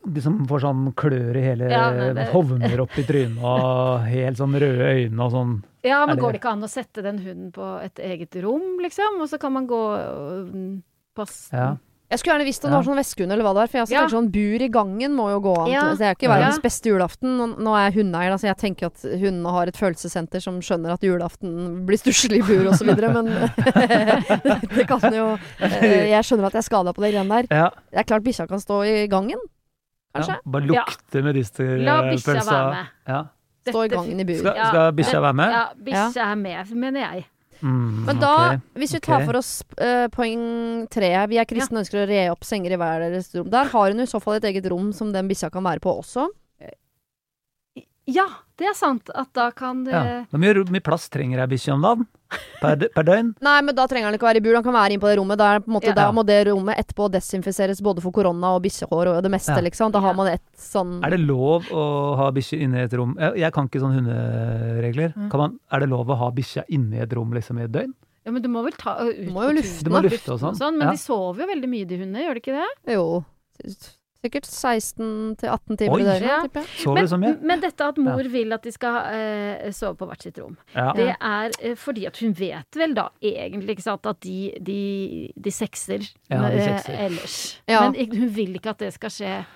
De som får sånn klør i hele Ja, nei, det- Hovner opp i trynet og helt sånn røde øyne og sånn. Ja, men Er det- går det ikke an å sette den hunden på et eget rom, liksom? Og så kan man gå og mm, passe Ja. Jeg skulle gjerne visst om det Ja. var sånn veskehund eller hva det er. For jeg også Ja. tenker sånn bur i gangen må jo gå an. Ja. Det er jo ikke verdens Ja. beste julaften. Nå- Nå er jeg hundeeier, da, så jeg tenker at hundene har et følelsessenter som skjønner at julaften blir stusslig i bur osv. Men det kan jo eh, Jeg skjønner at jeg er skada på det greiene der. Ja, Det er klart bikkja kan stå i gangen. Kanskje? ja. Bare Ja. lukte medisterpølsa. La bikkja være med. Ja. Stå i Dette gangen i bur. Skal, Ja. skal bikkja være med? Ja, bikkja er med, mener jeg. Mm, Men da, ok. hvis vi tar ok. for oss eh, poeng tre Vi er kristne og ønsker å re opp senger i hver deres rom. Der har hun i så fall et eget rom som den bikkja kan være på også. Ja, det er sant at da kan det ja. Hvor mye, mye plass trenger ei bikkje om dagen? Per, d- per døgn? Nei, men da trenger han ikke å være i bur. Han kan være inne på det rommet. Da, er det på en måte, Ja. da må det rommet etterpå desinfiseres både for korona og bikkjehår og det meste, Ja. liksom. Da Ja. har man et Mm. sånn Er det lov å ha bikkje inne i et rom? Jeg, jeg kan ikke sånne hunderegler. Mm. Kan man, er det lov å ha bikkja inne i et rom liksom, i et døgn? Ja, men du må vel ta ut Du må jo på lufte turen, den. Du må lufte og sånn. Men Ja. de sover jo veldig mye, de hundene, gjør de ikke det? Jo, sikkert 16 til 18 timer Oi. i døgnet, Ja. tipper jeg. Sover Men, du så mye? men dette at mor vil at de skal eh, sove på hvert sitt rom, Ja. det er eh, fordi at hun vet vel da egentlig ikke sant, at de, de, de sekser, Ja, de eh, sekser. ellers. Ja. Men ik- hun vil ikke at det skal skje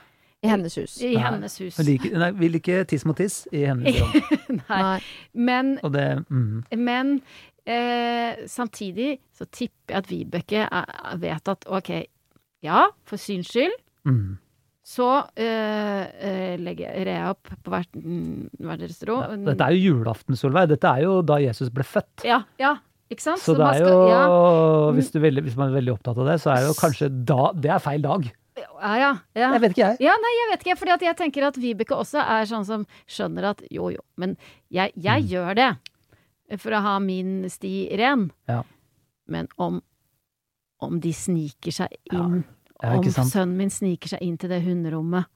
I hennes hus. i Nei. hennes hus. Hun liker, nei, vil ikke tiss mot tiss i hennes rom. Nei. Nei. Men, Og det, mm. men eh, samtidig så tipper jeg at Vibeke er- vet at ok, ja, for syns skyld. Mm. Så eh, eh, legger jeg opp på hvert, mm, hver deres ro. Ja, Dette er jo julaften, Solveig. Dette er jo da Jesus ble født. Ja, ja, ikke sant? Så det man er skal- ja, jo hvis, du er veldig, hvis man er veldig opptatt av det, så er det jo kanskje da Det er feil dag. ja, ja, ja. Jeg vet ikke, jeg. Ja, nei, jeg vet ikke, fordi at jeg tenker at Vibeke også er sånn som skjønner at jo, jo, men jeg, Mm. jeg gjør det for å ha min sti ren. Ja. Men om, om de sniker seg inn, Ja, om ikke sant? sønnen min sniker seg inn til det hunderommet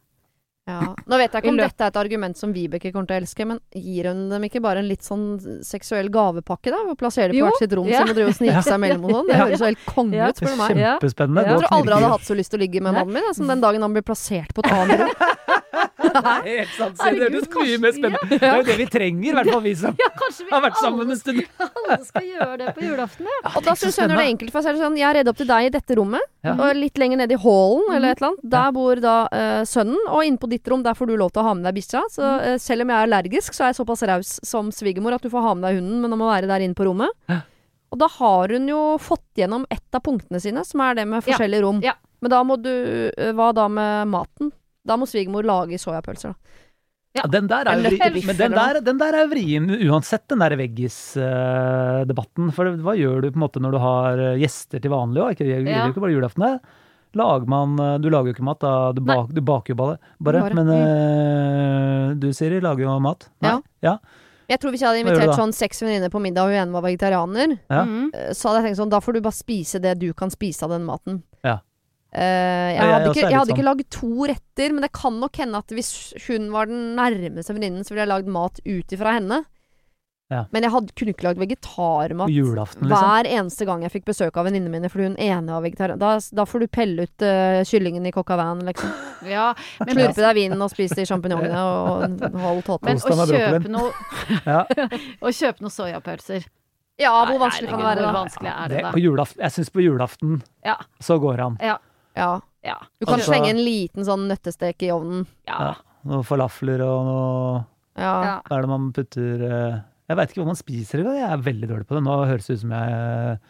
Ja. Nå vet jeg ikke om I løpet- dette er et argument som Vibeke kommer til å elske, men gir hun dem ikke bare en litt sånn seksuell gavepakke, da? Og plasserer dem Jo, på hvert sitt rom, ja. som å drive og snike seg mellom og sånn? Det Ja. høres jo helt konge Ja. ut, Det spør er du meg. Ja. kjempespennende. Ja. Jeg tror aldri jeg hadde Gå og knirke. hatt så lyst til å ligge med mannen min, jeg, som den dagen han blir plassert på et annet rom. Helt sant, Herregud, det høres mye kanskje- mer spennende Det er jo det vi trenger, i hvert fall vi som Ja, kanskje vi har vært sammen alle, en stund. alle skal gjøre det på julaften, ja. Og da synes jeg når det er enkelt for seg, er det sånn, jeg er redd opp til deg i dette rommet, Ja. og litt lenger nede i hallen, eller et eller annet. Der bor da eh, sønnen, og inne på ditt rom, der får du lov til å ha med deg bikkja. Så eh, selv om jeg er allergisk, så er jeg såpass raus som svigermor at du får ha med deg hunden, men du må være der inne på rommet. Og da har hun jo fått gjennom ett av punktene sine, som er det med Ja. forskjellige rom. Ja. Men da må du, eh, hva da med maten? Da må svigermor lage soyapølser, da. Ja, den der er jo Eller vri, biff, men den eller der, den der er vrien uansett, den der veggis-debatten. For hva gjør du på en måte når du har eh, gjester til vanlig òg? Det gjelder Ja. jo ikke bare julaften. det. Lager man, eh, du lager jo ikke mat, da. Du, bak, du baker jo bare. bare. Bare. Men Mm. eh, du, Siri, lager jo mat. Nei? Ja. Jeg tror hvis jeg hadde Hva gjør du invitert da? sånn seks venninner på middag, og hun ene var vegetarianer, Ja. Mm. Eh, så hadde jeg tenkt sånn, da får du bare spise det du kan spise av den maten. Ja. Eh, jeg, jeg hadde ikke, også er jeg hadde litt sånn. ikke lagd to retter, men det kan nok hende at hvis hun var den nærmeste venninnen, så ville jeg lagd mat ut ifra henne. Ja. Men jeg hadde, kunne ikke lagd På vegetarmat julaften, liksom. hver eneste gang jeg fikk besøk av venninnene mine fordi hun ene var vegetarianer. Da, da får du pelle ut eh, kyllingen i coq au vin, liksom. Ja, men, Slurpe deg vinen og spise de sjampinjongene og hold tåta. men Kos deg å med kjøpe brokkolien. noe, Ja. å kjøpe noe soyapølser Ja, hvor Nei, vanskelig kan det herregud, være Hvor da? vanskelig er det, Det- da? På julaften, jeg syns på julaften Ja. så går det an. Ja. Ja. Du kan Altså- slenge en liten sånn nøttestek i ovnen. ja. Ja. Noen falafler og noe Ja. Ja. Hva er det man putter eh, Jeg veit ikke hva man spiser i dag. Jeg er veldig dårlig på det. Nå høres det ut som jeg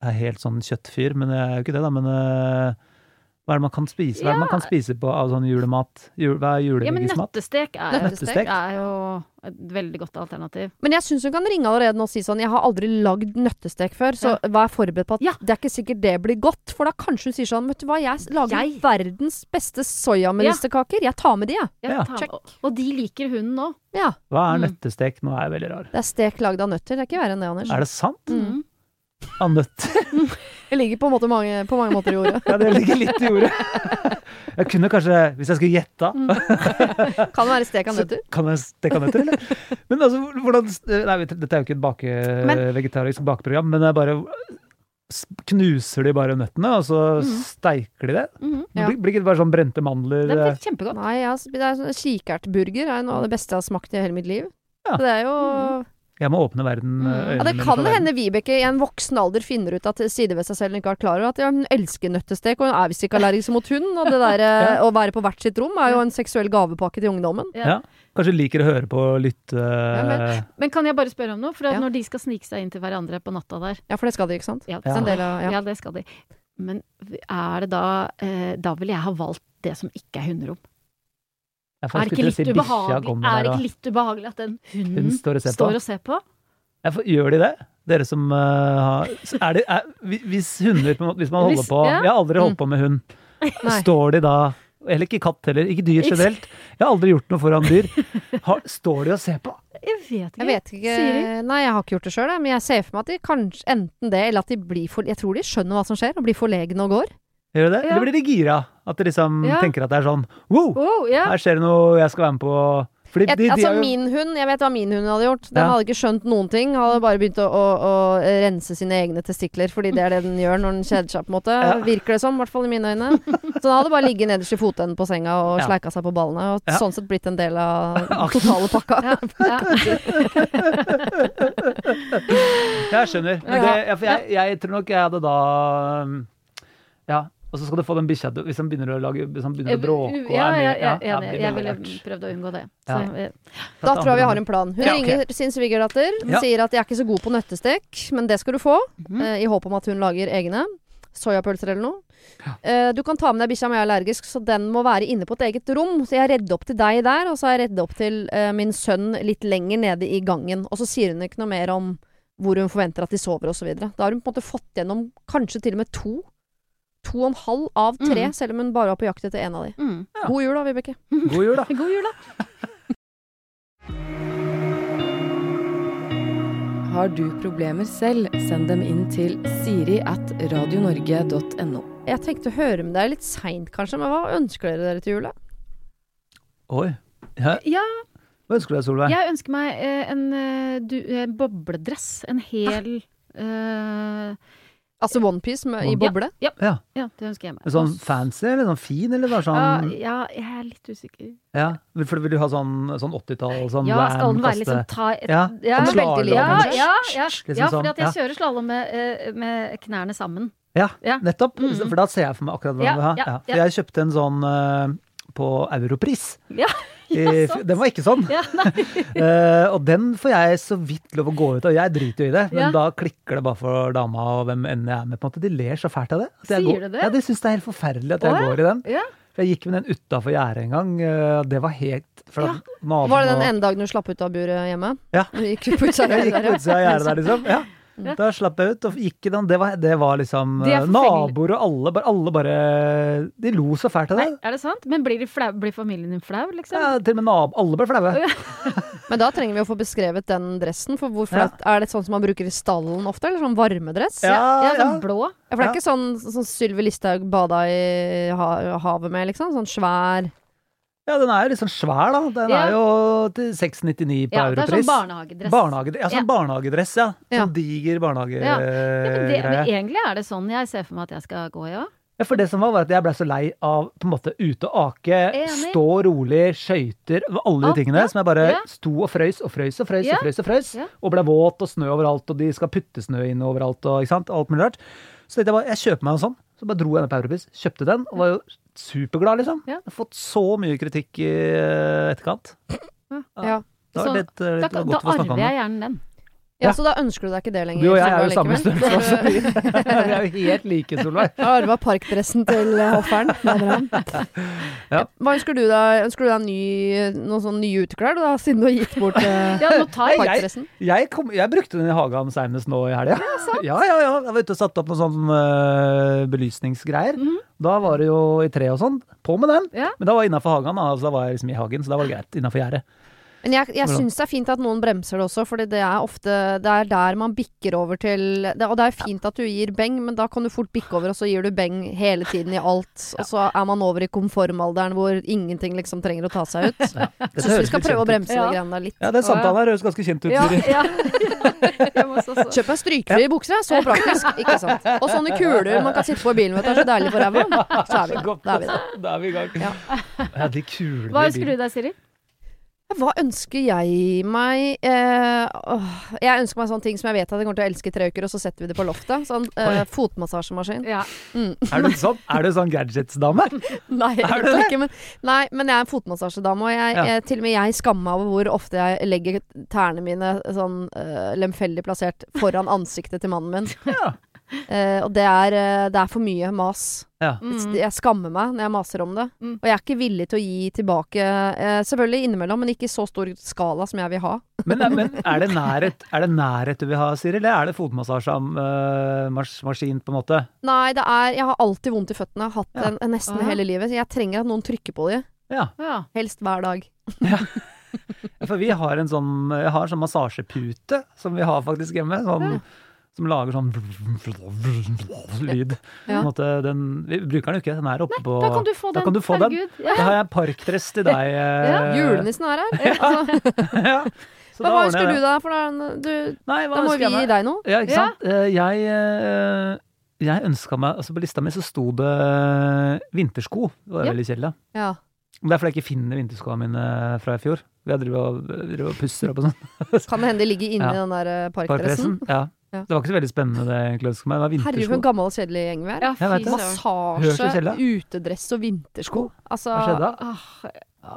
er helt sånn kjøttfyr, men jeg er jo ikke det, da. Men eh, Hva er det man kan spise Hva er det man kan spise på av sånn julemat? Jul, hva er Ja, men julemyggismat? nøttestek er, Nøttestek? er jo et veldig godt alternativ. Men jeg syns hun kan ringe allerede nå og si sånn Jeg har aldri lagd nøttestek før, så vær forberedt på at Ja. det er ikke sikkert det blir godt. For da kanskje hun sier sånn Vet du hva, jeg s- lager Jeg- verdens beste soyamelistekaker. Jeg tar med de, jeg. Ja, Ja. ta med- og, og de liker hunden nå. Ja. Hva er Mm. nøttestek? Nå er jeg veldig rar. Det er stek lagd av nøtter. Det er ikke verre enn det, Anders. Er det sant? Mm. Av nøtter? Jeg ligger på, en måte mange, på mange måter i ordet. Ja, det ligger litt i ordet. Jeg kunne kanskje, hvis jeg skulle gjette, Kan være stek av nøtter. Kan jeg steke nøtter, eller? Men altså, hvordan Nei, vet du, dette er jo ikke et bake, Men- vegetarisk bakeprogram, men det er bare s- Knuser de bare nøttene, og så Mm. steiker de det? Mhm. Ja. Blir, blir ikke det bare sånn brente mandler? Det eh, er kjempegodt. Nei, jeg, har sp- det er sånn kikertburger er noe av det beste jeg har smakt i hele mitt liv. Ja. Så det er jo Jeg må åpne Mm. verden, eh, øynene Ja, det mine kan for det verden. hende Vibeke i en voksen alder finner ut at sider ved seg selv hun ikke har klar over. At ja, hun elsker nøttestek, og hun er visst ikke allergisk mot hund. Og det der eh, å være på hvert sitt rom er jo en seksuell gavepakke til ungdommen. Ja. Ja. Kanskje liker å høre på og lytte eh, men- Men kan jeg bare spørre om noe? For at Ja. når de skal snike seg inn til hverandre på natta der Ja, for det skal de, ikke sant? ja, Det er en del av, ja. ja. det skal de. Men er det da eh, Da ville jeg ha valgt det som ikke er hunderom. Jeg får Er det ikke skulle litt til å si bikkja ubehagelig, kommer er der det og- ikke litt ubehagelig at den hunden Hun står og ser på. står og ser på? Jeg får- Gjør de det? Dere som eh, har er det, er, hvi- Hvis hunder på en måte, Hvis man holder Hvis- på ja. Jeg har aldri holdt på med hund. Nei. Står de da Eller ikke katt heller. Ikke dyr Ikke- generelt. Jeg har aldri gjort noe foran dyr. Har, står de og ser på? Jeg vet ikke. Jeg vet ikke Siri? Nei, jeg har ikke gjort det sjøl, men jeg ser for meg at de kanskje enten det, eller at de blir for Jeg tror de skjønner hva som skjer, og blir forlegne og går. Gjør de det? Ja. Eller blir de gira? At de liksom Ja. tenker at det er sånn Wow, Oh, ja. her skjer det noe jeg skal være med på. Fordi de, Jeg, de altså er jo min hund, jeg vet hva min hund hadde gjort. Den Ja. hadde ikke skjønt noen ting. Hadde bare begynt å, å, å rense sine egne testikler, fordi det er det den gjør når den kjeder seg, på en måte. Ja. Virker det som, i hvert fall i mine øyne. Så den hadde bare ligget nederst i fotenden på senga og Ja. sleika seg på ballene, og Ja. sånn sett blitt en del av den totale pakka. Ja, ja. Jeg skjønner. Men det, jeg, for jeg, jeg tror nok jeg hadde da um, Ja. Og så skal du få den bikkja til Hvis han begynner å lage Hvis han begynner å bråke og Ja, er ja, mye- ja, ja, enig. det blir Jeg ville rart. prøvd å unngå det. Så, Ja. eh, Da tror jeg vi har en plan. Hun Ja, ok. ringer sin svigerdatter. Hun Ja. sier at 'jeg er ikke så god på nøttestek, men det skal du få'. Mhm. Mm. eh, I håp om at hun lager egne. Soyapølser eller noe. Eh, du kan ta med deg bikkja, men jeg er allergisk, så den må være inne på et eget rom. Så jeg redder opp til deg der, og så har jeg reddet opp til eh, min sønn litt lenger nede i gangen. Og så sier hun ikke noe mer om hvor hun forventer at de sover osv. Da har hun på en måte fått gjennom kanskje til og med to. To og en halv av tre, Mhm. selv om hun bare var på jakt etter én av de. mm. God jul da, Vibeke. God jul, da. God jul, da. Har du problemer selv, send dem inn til siri at radionorge.no. Jeg tenkte å høre med deg litt seint, kanskje, men hva ønsker dere dere til jul? da? Oi. Ja. Ja. Hva ønsker du deg, Solveig? Jeg ønsker meg eh, en eh, du, eh, bobledress. En hel eh, Altså OnePiece i Ja. boble? Ja, det ønsker jeg meg. En Sånn fancy eller sånn fin, eller bare sånn ja, ja, jeg er litt usikker. ja. For Vil du ha sånn, sånn 80-tall? Sånn Ja, skal den van, være litt kaste- sånn tight? Ja, ja, veldig sånn slalom, liten, ja, kanskje? ja, ja. Liksom ja fordi sånn, at jeg kjører slalåm med, eh, med knærne sammen. Ja, Ja. nettopp. Mhm. For da ser jeg for meg akkurat hva Ja, du vil ha. ja, Ja. ja. For jeg kjøpte en sånn eh, på Europris. Ja, I- sant. Den var ikke sånn. Ja, Eh, og den får jeg så vidt lov å gå ut av. Jeg driter jo i det, men Ja. da klikker det bare for dama og hvem enn jeg er med. på en måte. De ler så fælt av det. At jeg Sier går, du det? Ja, De syns det er helt forferdelig at Å, jeg ja. går i den. Ja. Jeg gikk med den utafor gjerdet en gang. eh, det var helt for da- magen Var det den og- ene dagen du slapp ut av buret hjemme? Ja. Du gikk ut på utsida Jeg gikk der, på ja. utsida av gjerdet der, liksom. Ja. Ja. Da slapp jeg ut og gikk i den. Det var, det var liksom Det er eh, forfengelig. Naboer og alle bare, alle bare De lo så fælt av Nei, det. er det sant? Men blir, de flau, blir familien din flau, liksom? Ja, til og med nab alle ble flaue. Ja. Men da trenger vi å få beskrevet den dressen. For hvorfor Ja. er det sånn som man bruker i stallen ofte? Eller sånn varmedress? Ja, Ja, ja. sånn blå. Ja, For det er ikke sånn, sånn Sylvi Listhaug bada i ha havet med, liksom? Sånn svær ja, den er jo litt sånn svær, da. Den Ja. er jo til 6,99 på Ja, det er Europris. sånn barnehagedress. Barnehagedress. Ja, sånn Ja. barnehagedress, ja. Ja. Sånn diger Ja. Ja, men, det, barnehagegreie. Ja, men egentlig er det sånn jeg ser for meg at jeg skal gå i òg. for Eh, det som var, var at jeg blei så lei av på en måte ute og ake, Enig. stå rolig, skøyter, alle Alt, de tingene ja. som jeg bare Ja. sto og frøys og frøys og frøys Ja. og frøys og frøys, Ja. og blei våt og snø overalt, og de skal putte snø inn overalt og ikke sant, alt mulig rart. Så tenkte jeg bare, jeg kjøper meg en sånn. Så bare dro jeg ned på Europris, kjøpte den, og var jo superglad, liksom. Ja. Jeg har fått så mye kritikk i eh, etterkant. Ja. Det var Så litt, Da, eh, litt da godt å få snakka om arver det. jeg gjerne den. Ja, Ja. så da ønsker du deg ikke det lenger? liksom, Du og jeg er Solveig, jo samme likevel. størrelse, altså. Vi vi er jo helt like, Solveig. Jeg har arva parkdressen til eh, hofferen. mener han. Ja. Hva ønsker du deg? Ønsker du deg ny, noen sånne nye uteklær, da, siden du har gitt bort eh, Ja, nå tar jeg parkdressen? Jeg, kom, jeg brukte den i hagen senest nå i helga. Ja, ja, ja. Jeg var ute og satte opp noen sånn øh, belysningsgreier. Mhm. Da var det jo i tre og sånn. På med den. Ja. Men da var jeg innafor hagen, da. Altså, da var jeg liksom i hagen, så da var det greit. Innafor gjerdet. Men jeg, jeg Hvordan? syns det er fint at noen bremser det også, for det er ofte Det er der man bikker over til det, Og det er fint at du gir beng, men da kan du fort bikke over, og så gir du beng hele tiden i alt. Og så er man over i konformalderen hvor ingenting liksom trenger å ta seg ut. Dette Syns høres vi skal prøve litt å kjent ut. bremse Ja. det greiene der litt. Ja, den samtalen her høres ganske kjent ut. Ja, Siri. ja. Hjemme hos oss også. Kjøp deg strykfrie bukser, det er så praktisk. Ikke sant. Og sånne kuler man kan sitte på i bilen, vet du. Det er så deilig for ræva. Så er vi i gang. Da er vi der. Da er vi i gang. Ja. Ja, de kulene Hva i ønsker du deg, Siri? Hva ønsker jeg meg? Eh, åh, jeg ønsker meg sånne ting som jeg vet at jeg kommer til å elske i tre uker, og så setter vi det på loftet. Sånn eh, Oi. fotmassasjemaskin. Ja. bilen. Er du en sånn, er du en sånn gadgets-dame? Nei, Er du egentlig det? ikke, men, nei, men jeg er en fotmassasjedame, og jeg, Ja. eh, til og med jeg skammer meg over hvor ofte jeg legger tærne mine sånn eh, lemfeldig plassert foran ansiktet til mannen min. Ja. Eh, og det er, eh, det er for mye mas. Ja. Mm. Jeg skammer meg når jeg maser om det. Mm. Og jeg er ikke villig til å gi tilbake. eh, selvfølgelig innimellom, men ikke i så stor skala som jeg vil ha. Men, men er, det nærhet, er det nærhet du vil ha, Siri, eller er det fotmassasjemaskin, på en måte? Nei, det er Jeg har alltid vondt i føttene. Jeg har hatt Ja. den nesten Ah. hele livet. Så jeg trenger at noen trykker på dem. Ja. Ja. Helst hver dag. For vi har en sånn, jeg har en sånn massasjepute som vi har faktisk hjemme, som, som lager sånn lyd. På Ja. en måte, den, vi bruker den jo ikke, den er oppe på Da kan du få Da den. kan du få den. Herregud. Ja. Da har jeg en parkdress til deg. eh, Julenissen er her. Altså, ja. Så hva da ordner ønsker jeg du det. da? For da, du, Nei, hva da må ønsker vi jeg meg? gi deg noe. Ja, ikke Ja. sant? Eh, Jeg, eh, jeg ønska meg altså På lista mi så sto det eh, vintersko. Det var Ja. veldig kjedelig. da. Ja. Men Det er fordi jeg ikke finner vinterskoene mine eh, fra i fjor. Jeg driver og, driver og pusser opp og sånn. Kan det hende de ligger inni Ja. den der eh, parkdressen? Parkdressen. Ja. Ja. Det var ikke så veldig spennende det jeg egentlig ønska meg. Det var Herregud, for vintersko. en gammel og kjedelig gjeng vi er. Ja, Jeg vet fy det. søren. Hørt det Massasje, selv, da. utedress og vintersko. Altså, Hva skjedde da? Åh,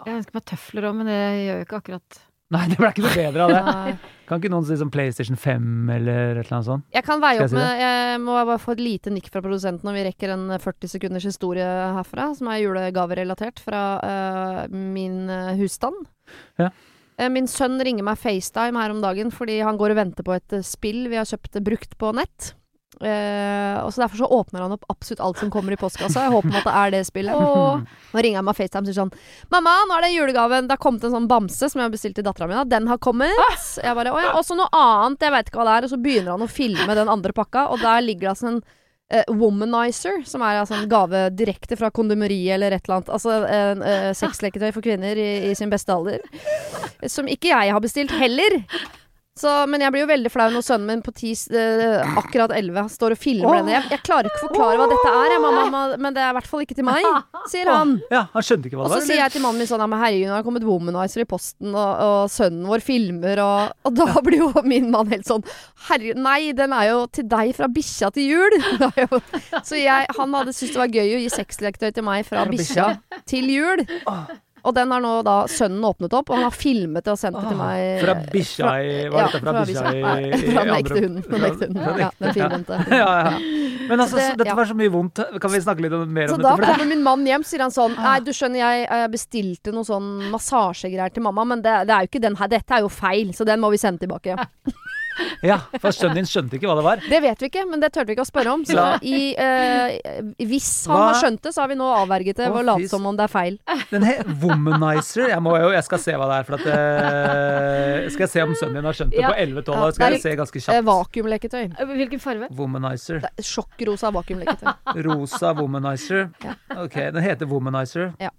Jeg ønsker meg tøfler òg, men det gjør jo ikke akkurat Nei, det ble ikke noe bedre av det. Nei. Kan ikke noen si sånn PlayStation 5 eller et eller annet sånt? Jeg kan veie Skal jeg opp si med Jeg må bare få et lite nikk fra produsenten når vi rekker en 40 sekunders historie herfra, som er julegaverelatert fra eh, min eh, husstand. Ja. Eh, Min sønn ringer meg FaceTime her om dagen fordi han går og venter på et eh, spill vi har kjøpt eh, brukt på nett. Eh, og så Derfor så åpner han opp absolutt alt som kommer i postkassa. Jeg håper at det er det spillet. Åh. Nå ringer jeg meg FaceTime og sier sånn 'Mamma, nå er det julegaven. Det har kommet en sånn bamse som jeg har bestilt til dattera mi. Den har kommet.' Jeg bare, «Å ja, Og så noe annet. Jeg veit ikke hva det er. Og så begynner han å filme den andre pakka, og der ligger det altså en eh, womanizer, som er altså en gave direkte fra kondomeriet eller et eller annet. Altså en eh, sexleketøy for kvinner i, i sin beste alder. Som ikke jeg har bestilt heller. Så, men jeg blir jo veldig flau når sønnen min på ti, eh, akkurat 11 står og filmer denne. Jeg, jeg klarer ikke å forklare hva dette er, jeg, mamma, mamma, men det er i hvert fall ikke til meg, sier han. Ja, han skjønte ikke hva Og så det var. sier eller? jeg til mannen min sånn «Ja, men herregud, nå har det kommet womanizer i posten, og, og sønnen vår filmer, og, og da blir jo min mann helt sånn Herregud, nei, den er jo til deg fra bikkja til jul. Det er jo- Så jeg, han hadde syntes det var gøy å gi sexleketøy til meg fra bikkja til jul. Og den har nå da sønnen åpnet opp, og han har filmet det og sendt det til meg. Ah. Fra bikkja i Ja, Hva er dette fra bikkja i, Nei, i Fra den andre- ekte hunden. Den ekte hunden. Ja, den firkantede. ja, ja. Men altså, det- så dette ja. var så mye vondt. Kan vi snakke litt om, mer Så om da dette? For det, kommer min mann hjem, sier han sånn Ah. Nei, du skjønner, jeg eh, bestilte noe sånn massasjegreier til mamma, men det, det er jo ikke den her. Dette er jo feil, så den må vi sende tilbake. ja, for sønnen din skjønte ikke hva det var. Det vet vi ikke, men det turte vi ikke å spørre om. Så Ja. i, eh, hvis han Hva? har skjønt det, så har vi nå avverget det Å, ved å late fy s- som om det er feil. Den he Womanizer. Jeg, må jo, jeg skal se hva det er. For at, eh, skal jeg se om sønnen din har skjønt det Ja. på 11-12 Ja, år? Skal det jeg se ganske Eh, kjapt. vakuumleketøy. Eh, Hvilken farge? Womanizer. Det er Sjokkrosa vakuumleketøy. Rosa Womanizer. Ok, den heter Womanizer. Ja.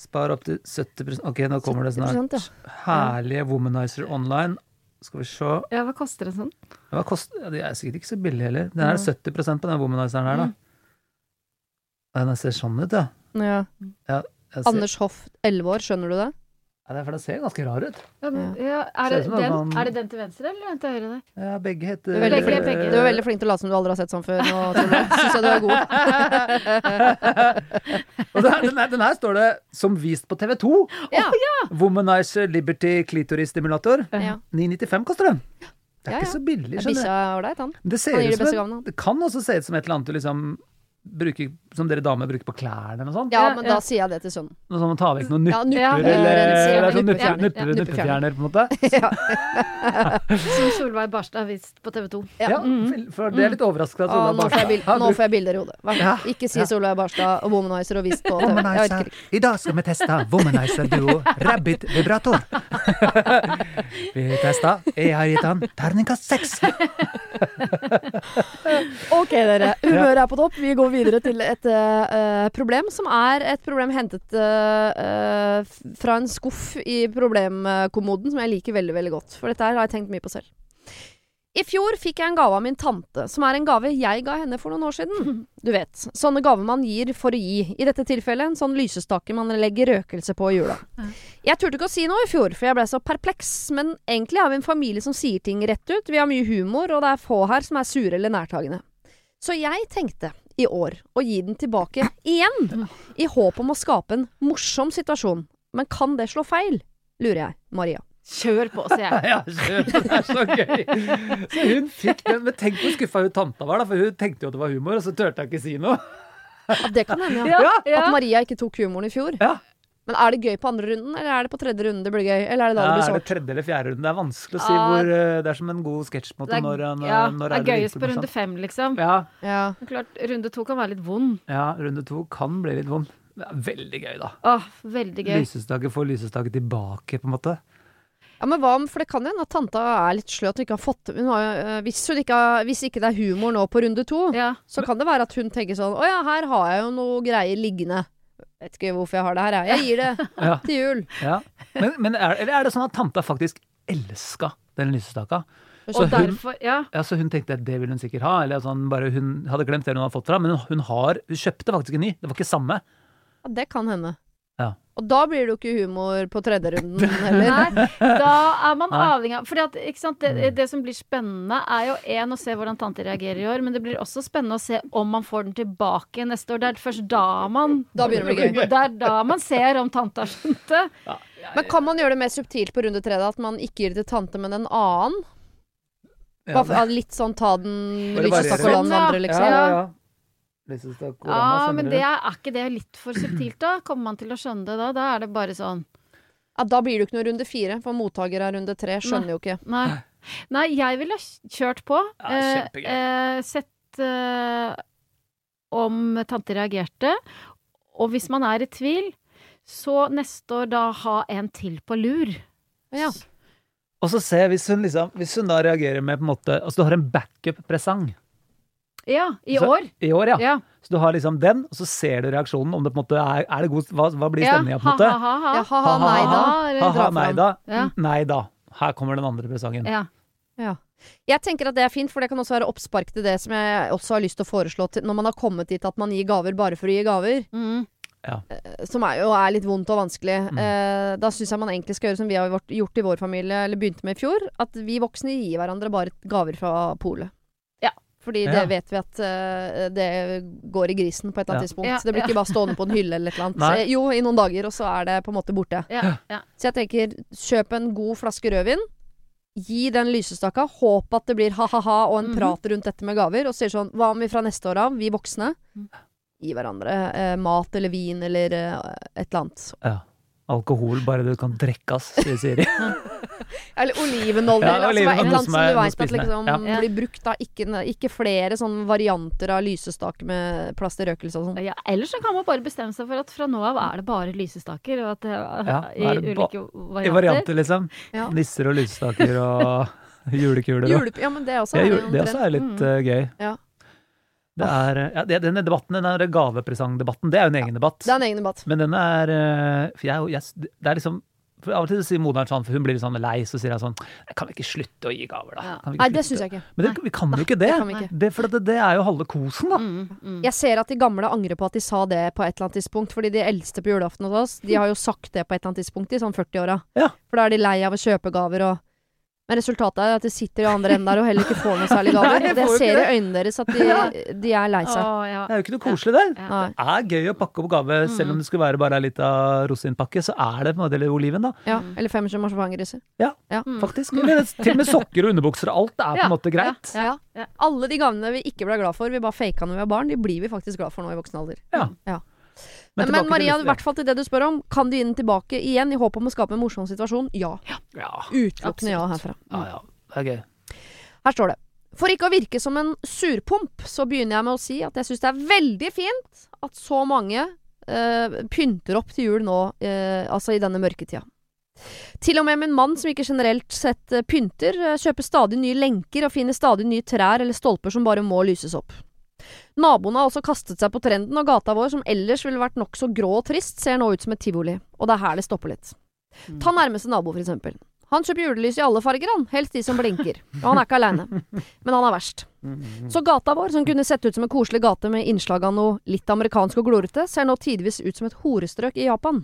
Spar opp til 70 Ok, nå kommer det 70%, ja. snart. Herlige Womanizer online. Skal vi se Ja, hva koster en sånn? Hva koster ja, De er sikkert ikke så billige heller. Den er 70 på den Womanizeren Mm. her, da. Ja, Den ser sånn ut, ja. Ja. Jeg ser- Anders Hoff, 11 år, skjønner du det? Ja, det er for den ser ganske rar ut. Ja, men, ja, Ser er, ut det som sånn- at den, man- er det den til venstre eller den til høyre der? Ja, begge Du heter er veldig flink, begge. du er veldig flink til å late som du aldri har sett sånn før. Nå syns jeg du er god. Og den, her- den, her, den her står det 'Som vist på TV 2'. Ja. Womanizer Liberty Klitoris Stimulator. Ja. 995 koster den. Det Det er Ja, ikke ja. så billig. skjønner du. Bikkja er ålreit, han. Det, ser Han gir ut de beste som en, gavene, han. det kan også se ut som et eller annet du liksom bruker, som dere damer bruker på klærne eller noe sånt. Ja, Ja, men ja. da sier jeg det til sønnen. Noe sånn å ta vekk noen Ja, nupper Ja, nupper eller, renser, eller sånn nuppefjerner. nuppe- nuppefjerner, nuppe- ja, nuppefjerner, på en måte. Ja. Som Solveig Barstad har vist på TV 2. Ja. Ja, for- for det er litt overraska at Å, Ola nå får jeg, Barstad bil har nå brukt får jeg bilder i hodet. Vær så Ja. god. Ikke si Ja. Solveig Barstad og Womanizer og Visst på TV. Jeg orker Womanizer. ikke. I dag skal vi teste Womanizer-duo Rabbit Vibrator. Vi testa. Jeg har gitt han terningkast seks. Ok, dere. Humøret er på topp. Vi går videre til et eh, problem som er et problem hentet eh, eh, fra en skuff i problemkommoden som jeg liker veldig, veldig godt. For dette her har jeg tenkt mye på selv. I fjor fikk jeg en gave av min tante, som er en gave jeg ga henne for noen år siden. Du vet, sånne gaver man gir for å gi. I dette tilfellet en sånn lysestake man legger røkelse på i jula. Jeg turte ikke å si noe i fjor, for jeg ble så perpleks, men egentlig har vi en familie som sier ting rett ut, vi har mye humor, og det er få her som er sure eller nærtagende. Så jeg tenkte i år å gi den tilbake igjen, i håp om å skape en morsom situasjon. Men kan det slå feil? lurer jeg Maria. Kjør på, sier jeg. Ja, skjønner, det er så gøy! Så hun fikk den. Men tenk hvor skuffa hun tanta var, da, for hun tenkte jo at det var humor, og så turte hun ikke si noe. Ja, det kan hende, ja. Ja, At Maria ikke tok humoren i fjor. Ja. Men er det gøy på andre runden, eller er det på tredje runde det blir gøy? Eller er det da Ja, det blir er det sårt? tredje eller fjerde runden? Det er vanskelig å si Ja. hvor eh, Det er som en god sketsj på en måte, når, han, eh, ja, når det er virkelig gøyest på blir runde sånn. fem, liksom. Ja, Ja. Klart, runde to kan være litt vond. ja, runde to kan bli litt vond. Det er veldig gøy, da. Åh, veldig gøy. Lysestaket får lysestaket tilbake, på en måte. Ja, men hva om, for det kan hende at tanta er litt slø at hun ikke har fått hun har, jo, øh, hvis, hun ikke har, hvis ikke det er humor nå på runde to, Ja. så kan det være at hun tenker sånn Å ja, her har jeg jo noe greier liggende. Vet ikke hvorfor jeg har det her, jeg. Jeg gir det Ja, til jul. ja. Men, men er, eller er det sånn at tanta faktisk elska den lysestaka? Og Så hun, derfor, ja. ja, så hun tenkte at det ville hun sikkert ha, eller sånn, bare hun hadde glemt det hun hadde fått fra, men hun, hun, har, hun kjøpte faktisk en ny. Det var ikke samme. Ja, det kan hende. Ja. Og da blir det jo ikke humor på tredje runden heller. Nei, da er man Nei. Mm. avhengig av Fordi at, ikke sant, det, det som blir spennende, er jo én å se hvordan tante reagerer i år, men det blir også spennende å se om man får den tilbake neste år. Det er først da man Da begynner det å bli gøy. Det er da man ser om tante har skjønt det. Men kan man gjøre det mer subtilt på runde tre? da, At man ikke gir det til tante, men en annen? Bare for, ja, litt sånn ta den Bare variere. lysestakk og la den andre, Ja, liksom. ja, ja. Lysestak, Ja, men det er, er ikke det litt for subtilt, da? Kommer man til å skjønne det da? Da er det bare sånn Ja, da blir det jo ikke noe runde fire, for mottaker av runde tre skjønner jo ikke. Nei. Nei, jeg ville kjørt på. Ja, Eh, kjempegøy. eh, sett eh, om tante reagerte. Og hvis man er i tvil, så neste år da ha en til på lur. Ja. Og så se, hvis hun, liksom, hvis hun da reagerer med på en måte Altså, du har en backup-presang Ja, i Så- år. i år, ja. Ja. Så du har liksom den, og så ser du reaksjonen. Om det på en måte er, er det god Hva, hva blir Ja, stemninga, på en måte? Ha-ha-ha. Ja, ha-ha, nei da. eller Ha-ha, dra nei fram. da. Ja. Nei da. Her kommer den andre presangen. Ja. Ja. Jeg tenker at det er fint, for det kan også være oppspark til det som jeg også har lyst til å foreslå til, når man har kommet dit at man gir gaver bare for å gi gaver, Mm. eh, som er jo er litt vondt og vanskelig. Mm. Eh, da syns jeg man egentlig skal gjøre som vi har vært- gjort i vår familie, eller begynte med i fjor, at vi voksne gir hverandre bare gaver fra polet. Ja. Fordi det Ja. vet vi at eh, det går i grisen på et eller annet Ja. tidspunkt. Ja, Så det blir ikke bare stående på en hylle eller et eller annet. Nei. Eh, Jo, i noen dager, og så er det på en måte borte. Ja. Ja. Så jeg tenker, kjøp en god flaske rødvin. Gi den lysestaka. Håp at det blir ha-ha-ha og en Mhm. prat rundt dette med gaver. Og sier sånn Hva om vi fra neste år av, vi voksne, gir hverandre eh, mat eller vin eller eh, et eller annet. Ja. Alkohol, bare du kan drikkes, sier Siri. Eller olivenolje. Ja, eller altså, olivenolje, bare et eller annet som som er du noe veit at spisende. liksom Ja. blir brukt, da. Ikke, ikke flere sånne varianter av lysestake med plass til røkelse og sånn. Ja, Eller så kan man bare bestemme seg for at fra nå av er det bare lysestaker. Og at det, Ja, I er det ba- ulike I varianter. varianter, liksom. Ja. Nisser og lysestaker og julekuler. og- Julepe- Ja, men det også Ja, er jo jul- det også omtrent. Mm. er litt eh, gøy. Ja. Det er, eh, ja, det- denne debatten, den der gavepresangdebatten, det er jo en egen debatt. Det er en egen debatt. Men den er eh, for jeg, er jo- jeg, s- Det er liksom for Av og til så sier moderen sånn, for hun blir litt sånn lei, så sier jeg sånn Kan vi ikke slutte å gi gaver, da? Ja. Kan vi ikke Nei, det slutte?» syns jeg ikke. Men det, vi kan jo ikke det kan vi det. ikke. det for det, det er jo halve kosen, da. Mm, mm. Jeg ser at de gamle angrer på at de sa det på et eller annet tidspunkt. Fordi de eldste på julaften hos oss, de har jo sagt det på et eller annet tidspunkt i sånn 40-åra. Ja. For da er de lei av å kjøpe gaver og Men resultatet er at de sitter i andre enden der og heller ikke får noe særlig gaver. Nei, jeg det får jo ser ikke i øynene deres at de, de er lei seg. Å, ja. Det er jo ikke noe koselig, det. Ja. Nei. Det er gøy å pakke opp gave, selv om det skulle være bare ei lita rosinpakke, så er det på en måte eller oliven, da. Ja, eller 25 marsipangriser. Faktisk. Eller til og med sokker og underbukser og alt er på Mm. Ja, en måte greit. Ja. Alle de gavene vi ikke ble glad for, vi bare faka når vi var barn, de blir vi faktisk glad for nå i voksen alder. Ja. Ja. Men, Men tilbake til Maria, listen, i ja. hvert fall til det du spør om, kan du gi den tilbake igjen i håp om å skape en morsom situasjon? Ja. Ja, Utelukkende ja herfra. ja. ja. Det er gøy. Her står det. For ikke å virke som en surpomp, så begynner jeg med å si at jeg syns det er veldig fint at så mange eh, pynter opp til jul nå, eh, altså i denne mørketida. Til og med min mann, som ikke generelt sett eh, pynter, eh, kjøper stadig nye lenker og finner stadig nye trær eller stolper som bare må lyses opp. Naboene har også kastet seg på trenden, og gata vår, som ellers ville vært nokså grå og trist, ser nå ut som et tivoli, og det er her det stopper litt. Ta nærmeste nabo, for eksempel. Han kjøper julelys i alle farger, han. Helst de som blinker. Og han er ikke aleine. Men han er verst. Så gata vår, som kunne sett ut som en koselig gate med innslag av noe litt amerikansk og glorete, ser nå tidvis ut som et horestrøk i Japan.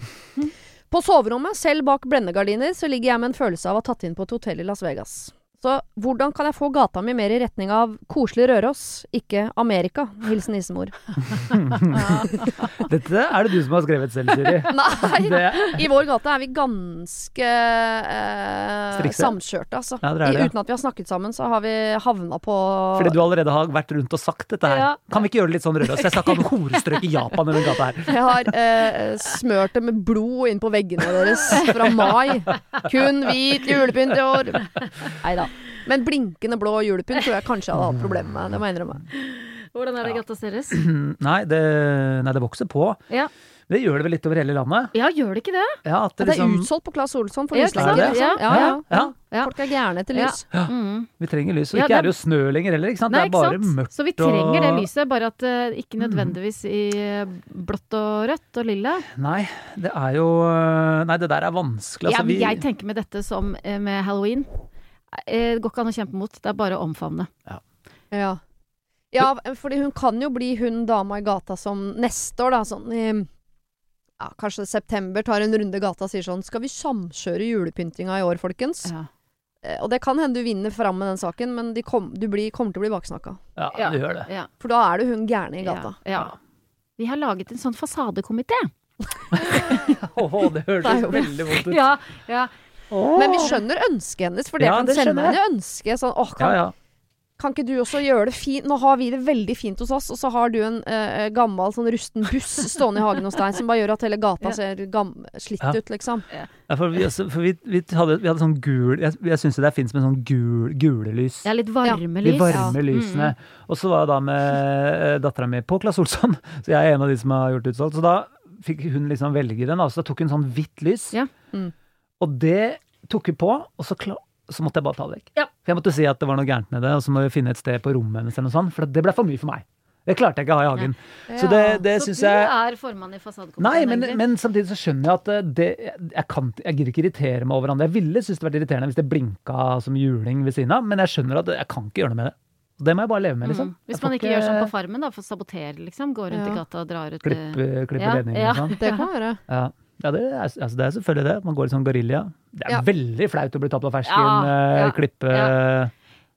På soverommet, selv bak blendegardiner, så ligger jeg med en følelse av å ha tatt inn på et hotell i Las Vegas. Så hvordan kan jeg få gata mi mer i retning av koselig Røros, ikke Amerika? Hilsen nissemor. Dette er det du som har skrevet selv, Siri. Nei! Det, I vår gate er vi ganske eh, Strikse. samkjørte, altså. Ja, dere er det, ja. I, uten at vi har snakket sammen, så har vi havna på fordi du allerede har vært rundt og sagt dette her. Ja. Kan vi ikke gjøre det litt sånn Røros? Jeg snakka om horestrøk i Japan i den gata her. Jeg har eh, smørt det med blod inn på veggene deres fra mai. Kun hvit julepynt i år. Nei da. Men blinkende blå julepynt tror jeg kanskje jeg hadde hatt problemer med. Det må jeg innrømme. Hvordan er det i gata deres? Nei, det, nei, det vokser på. Ja. Det gjør det vel litt over hele landet? ja, gjør det ikke det? Ja, at Det det er liksom, utsolgt på Claes Olsson for Ja, ikke lyslenker. sant? liksom. Ja, ja. ja, Ja. Folk er gærne etter lys. Mm. vi trenger lys. Og Ja, ikke det er- er det jo snø lenger heller, ikke sant? Nei, det er ikke bare sant? mørkt. Så vi trenger det og- Mm. lyset, bare at eh, ikke nødvendigvis i eh, blått og rødt og lilla. Nei, det er jo Nei, det der er vanskelig. Altså, jeg, vi, jeg tenker med dette som eh, med halloween. Eh, Det går ikke an å kjempe mot, det er bare å omfavne. Ja. ja, fordi hun kan jo bli hun dama i gata som neste år, da, sånn i ja, kanskje september, tar en runde i gata og sier sånn Skal vi samkjøre julepyntinga i år, folkens? Eh, Og det kan hende du vinner fram med den saken, men de kom, du blir, kommer til å bli baksnakka. ja, Ja. det gjør det. Ja. For da er du hun gærne i gata. Ja. ja. Vi har laget en sånn fasadekomité. Åh, det Det er hørtes jo- veldig vondt ut. Ja, ja. Men vi skjønner ønsket hennes, for det Ja, kan det sende skjønner jeg. henne ønske. Sånn, åh, Ja, kan, ja. kan ikke du også gjøre det fint? Nå har vi det veldig fint hos oss, og så har du en eh, gammel sånn rusten buss stående i hagen hos deg som bare gjør at hele gata ser gam slitt Ja. ut, liksom. ja for vi, altså, for vi, vi, hadde, vi hadde sånn gul Jeg, jeg syns det er fint med sånn gul, gule lys. Det er litt varme De lys. Mm. varme lysene. Og så var jeg da med dattera mi på Claes Olsson, så jeg er en av de som har gjort utsolgt. Så da fikk hun liksom velge den, da. så da tok hun sånn hvitt lys. Ja. Mm. Og det tok hun på, og så, kla- så måtte jeg bare ta det vekk. Ja. For jeg måtte si at det var noe gærent med det, og så må vi finne et sted på rommet hennes eller noe sånt, for det ble for mye for meg. Det klarte jeg ikke å ha i hagen. Så det, det Mm. Så syns du jeg er formann i fasadekomiteen, Nei, men, egentlig. men samtidig så skjønner jeg at eh, det, jeg, kan, jeg gidder ikke irritere meg over han. Jeg ville syntes det vært irriterende hvis det blinka som juling ved siden av, men jeg skjønner at jeg kan ikke gjøre noe med det. Og Det må jeg bare leve med, liksom. Mm. Hvis man ikke gjør sånn på Farmen, da, for å sabotere, liksom. Går rundt Ja. i gata og drar ut eh, Klippe, klippe Ja, ledninger ja. og sånn. Det kan være. Ja, ja det, er, altså, det er selvfølgelig det. Man går litt sånn gorilla. Det er Ja. veldig flaut å bli tatt på fersken, Ja, eh, ja, klippe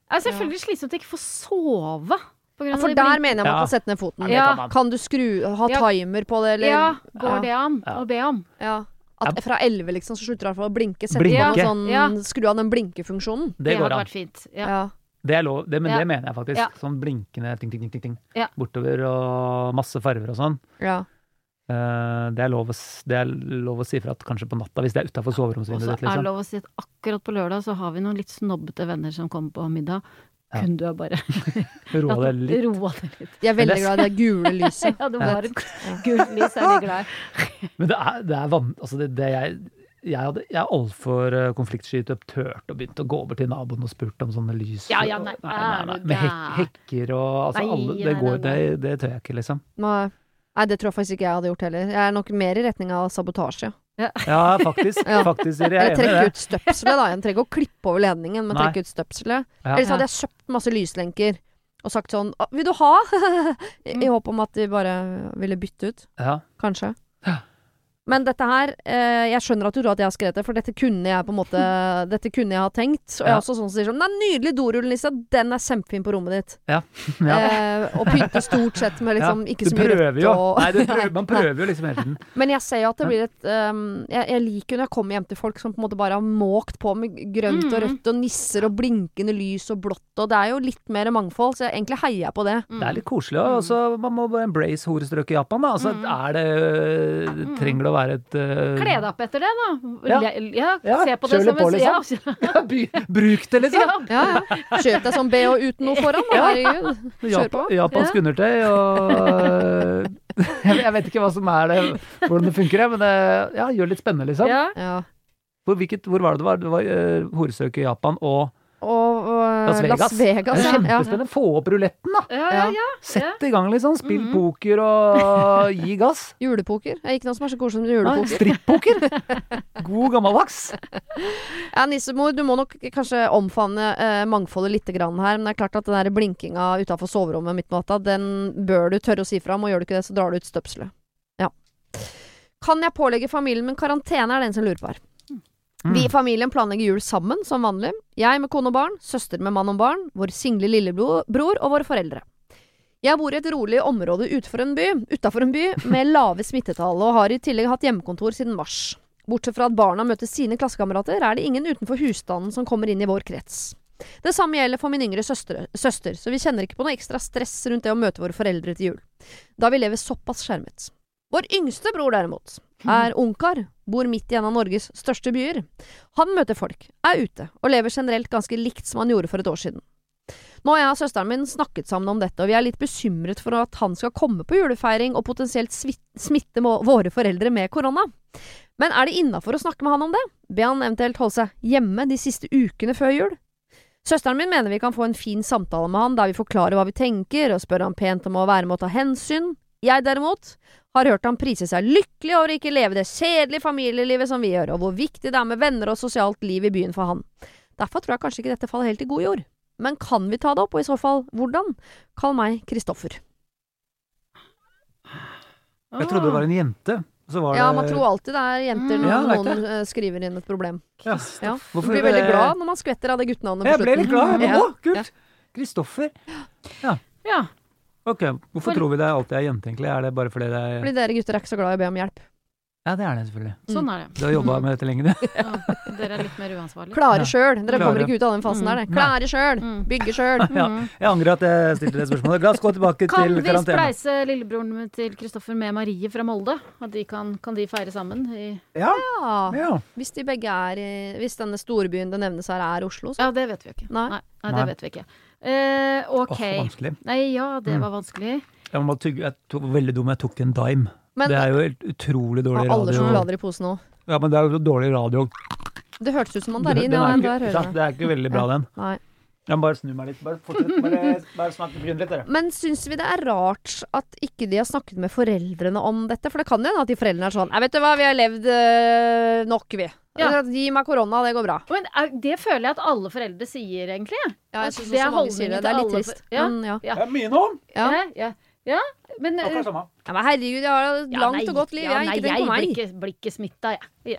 Det er selvfølgelig slitsomt å ikke få sove. På grunn Ja, av for det der blink- mener jeg man Ja. kan sette ned foten. det Ja. kan man. Kan du skru ha Ja. timer på det, eller Ja, går Ja. det an Ja. å be om? Ja. At fra 11 liksom, så slutter du i hvert fall å blinke. Sett Blinke. på noe sånn, Ja. Skru av den blinkefunksjonen. Det går hadde an. vært fint. Ja. Ja. Det er lov, det, men Ja. det mener jeg faktisk. Ja. Sånn blinkende ting, ting, ting, ting, ting. Ja. bortover og masse farger og sånn. Ja. Eh, det, er lov å, s- det er lov å si fra at kanskje på natta, hvis det er utafor Og soveromsvinduet så er ditt, det liksom. lov å si at akkurat på lørdag så har vi noen litt snobbete venner som kommer på middag. Ja. Kunne du ha bare Roa deg litt. roa deg litt? De er Men veldig det- glad i det gule lyset. Ja, det var et gult lys, er de glad i. Men det er, det er van... Altså, det, det jeg... Jeg, hadde, jeg er altfor eh, konfliktsky til å tørte og begynte å gå over til naboen og spurt om sånne lys. Ja, ja, nei, er du Med hek, gæren? hekker og altså, Nei, alle, det, nei, går, det, nei, nei. det tør jeg ikke, liksom. Nei. Nei, det tror jeg faktisk ikke jeg hadde gjort heller. Jeg er nok mer i retning av sabotasje. Ja, faktisk. Ja. faktisk Siri, Eller jeg er enig i trekke det. ut støpselet, da. Jeg trenger ikke å klippe over ledningen, men Nei. trekke ut støpselet. Ja. Eller så hadde jeg kjøpt masse lyslenker og sagt sånn «Å, Vil du ha? Mm. I, I håp om at de bare ville bytte ut. Ja. Kanskje. Men dette her eh, Jeg skjønner at du tror at jeg har skrevet det, for dette kunne jeg på en måte Dette kunne jeg ha tenkt. Og jeg Ja. er også sånn som sier sånn Det er nydelig dorullnisse, den er kjempefin på rommet ditt. Ja. ja. Eh, og pynte stort sett med liksom Ja, ikke du så mye prøver rødt jo. og Nei, du prøver, man prøver jo liksom hele tiden. Men jeg ser jo at det blir et ehm, jeg, jeg liker jo når jeg kommer hjem til folk som på en måte bare har måkt på med grønt Mm. og rødt og nisser og blinkende lys og blått, og det er jo litt mer mangfold, så jeg egentlig heier jeg på det. Mm. Det er litt koselig. Og så man må bare embrace horestrøk i Japan, da. Altså, er det Trenger det å være et øh, Mm. Kle deg opp etter det, da. Ja. Le- Ja, Ja, se på det som kjør litt på, en liksom. Ja, by- Bruk det, liksom! Ja, Ja, ja. Kjøp deg sånn BH uten noe foran, da. Herregud. Kjør på. Jap- Japansk undertøy og eh, jeg, jeg vet ikke hva som er det, hvordan det funker, jeg, men det ja, gjør det litt spennende, liksom. ja. Ja. Hvor, hvilket, hvor var det det var? Det var øh, horestrøk i Japan og Og, og Las Vegas. Las Vegas Det ja. er kjempespennende. Få opp ruletten, da! Ja, ja, ja. Sett i gang, liksom. Spill Mhm. poker og gi gass. Julepoker. Det er ikke noe som er så koselig som Nei, julepoker. Strippoker! God gammeldags. Ja, nissemor, du må nok kanskje omfavne eh, mangfoldet litt grann her. Men det er klart at den der blinkinga utafor soverommet midt på natta, den bør du tørre å si fra om. Og gjør du ikke det, så drar du ut støpselet. Ja. Kan jeg pålegge familien min karantene, er det en som lurer på her. Vi i familien planlegger jul sammen, som vanlig. Jeg med kone og barn, søster med mann og barn, vår single lillebror og våre foreldre. Jeg bor i et rolig område utenfor en by, utenfor en by med lave smittetall, og har i tillegg hatt hjemmekontor siden mars. Bortsett fra at barna møter sine klassekamerater, er det ingen utenfor husstanden som kommer inn i vår krets. Det samme gjelder for min yngre søster, søster, så vi kjenner ikke på noe ekstra stress rundt det å møte våre foreldre til jul, da vi lever såpass skjermet. Vår yngste bror, derimot, er ungkar, bor midt i en av Norges største byer. Han møter folk, er ute, og lever generelt ganske likt som han gjorde for et år siden. Nå har jeg og søsteren min snakket sammen om dette, og vi er litt bekymret for at han skal komme på julefeiring og potensielt svit- smitte må- våre foreldre med korona. Men er det innafor å snakke med han om det? Be han eventuelt holde seg hjemme de siste ukene før jul? Søsteren min mener vi kan få en fin samtale med han der vi forklarer hva vi tenker og spør han pent om å være med og ta hensyn. Jeg derimot har hørt han prise seg lykkelig over å ikke leve det kjedelige familielivet som vi gjør, og hvor viktig det er med venner og sosialt liv i byen for han. Derfor tror jeg kanskje ikke dette faller helt i god jord. Men kan vi ta det opp, og i så fall hvordan? Kall meg Kristoffer. Jeg trodde det var en jente. Så var Ja, det Mm. man tror alltid det er jenter når Ja, det er ikke noen eh, skriver inn et problem. Ja. Ja. Du Hvorfor- blir veldig glad når man skvetter av det guttenavnet Jeg ble litt glad. Jeg Ja. bare, Å, kult! Kristoffer. ja. Ok, Hvorfor For- tror vi det alltid er jente, egentlig? Er det bare fordi det er Fordi dere gutter er ikke så glad i å be om hjelp. Ja, det er det selvfølgelig. Sånn er det. Du har jobba med dette lenge, du. Ja. Dere er litt mer uansvarlige. Klare Ja. sjøl. Dere Klare. kommer ikke ut av den fasen der. dere. Klare sjøl. Mm. Bygge sjøl. Ja, Mm-hmm. jeg angrer at jeg stilte det spørsmålet. La oss gå tilbake Kan vi til karantene. spleise lillebroren min til Kristoffer med Marie fra Molde? At de kan, kan de feire sammen? I... Ja, Ja. ja. Hvis de begge er i Hvis denne storbyen det nevnes her, er Oslo, så Ja, det vet vi jo ikke. Nei. Nei, Nei. det vet vi ikke. Eh, Åh, OK. vanskelig. Mm. Nei, ja, det var vanskelig. Jeg må tygge, jeg tok, veldig dum, jeg tok en dime. Men det har er jo helt utrolig dårlig alle radio. sjokolader i posen òg. Ja, men det er jo dårlig radio. Det hørtes ut som Den- mandarin. den Ja, er den ikke- der hører sant, jeg. det er ikke veldig bra, den. Nei. Jeg må bare snu meg litt. Bare fortsett. Bare, bare snakk begynn litt, dere. Men syns vi det er rart at ikke de har snakket med foreldrene om dette? For det kan jo hende at de foreldrene er sånn Nei, vet du hva, vi har levd øh, nok, vi. Ja. Gi meg korona, det går bra. Men er, det føler jeg at alle foreldre sier, egentlig. Ja, jeg Altså, synes det også er mange sier det. holdningen til Det er litt alle trist. for- ja. Men, Mm, ja. Det er mye nå! Ja. Ja, Eh, ja. ja men eh, Akkurat samme. Ja, men herregud, jeg har et ja, langt nei, og godt liv. ja, jeg nei, ikke tenk på meg. blir ikke, blir ikke smitta, jeg. Ja.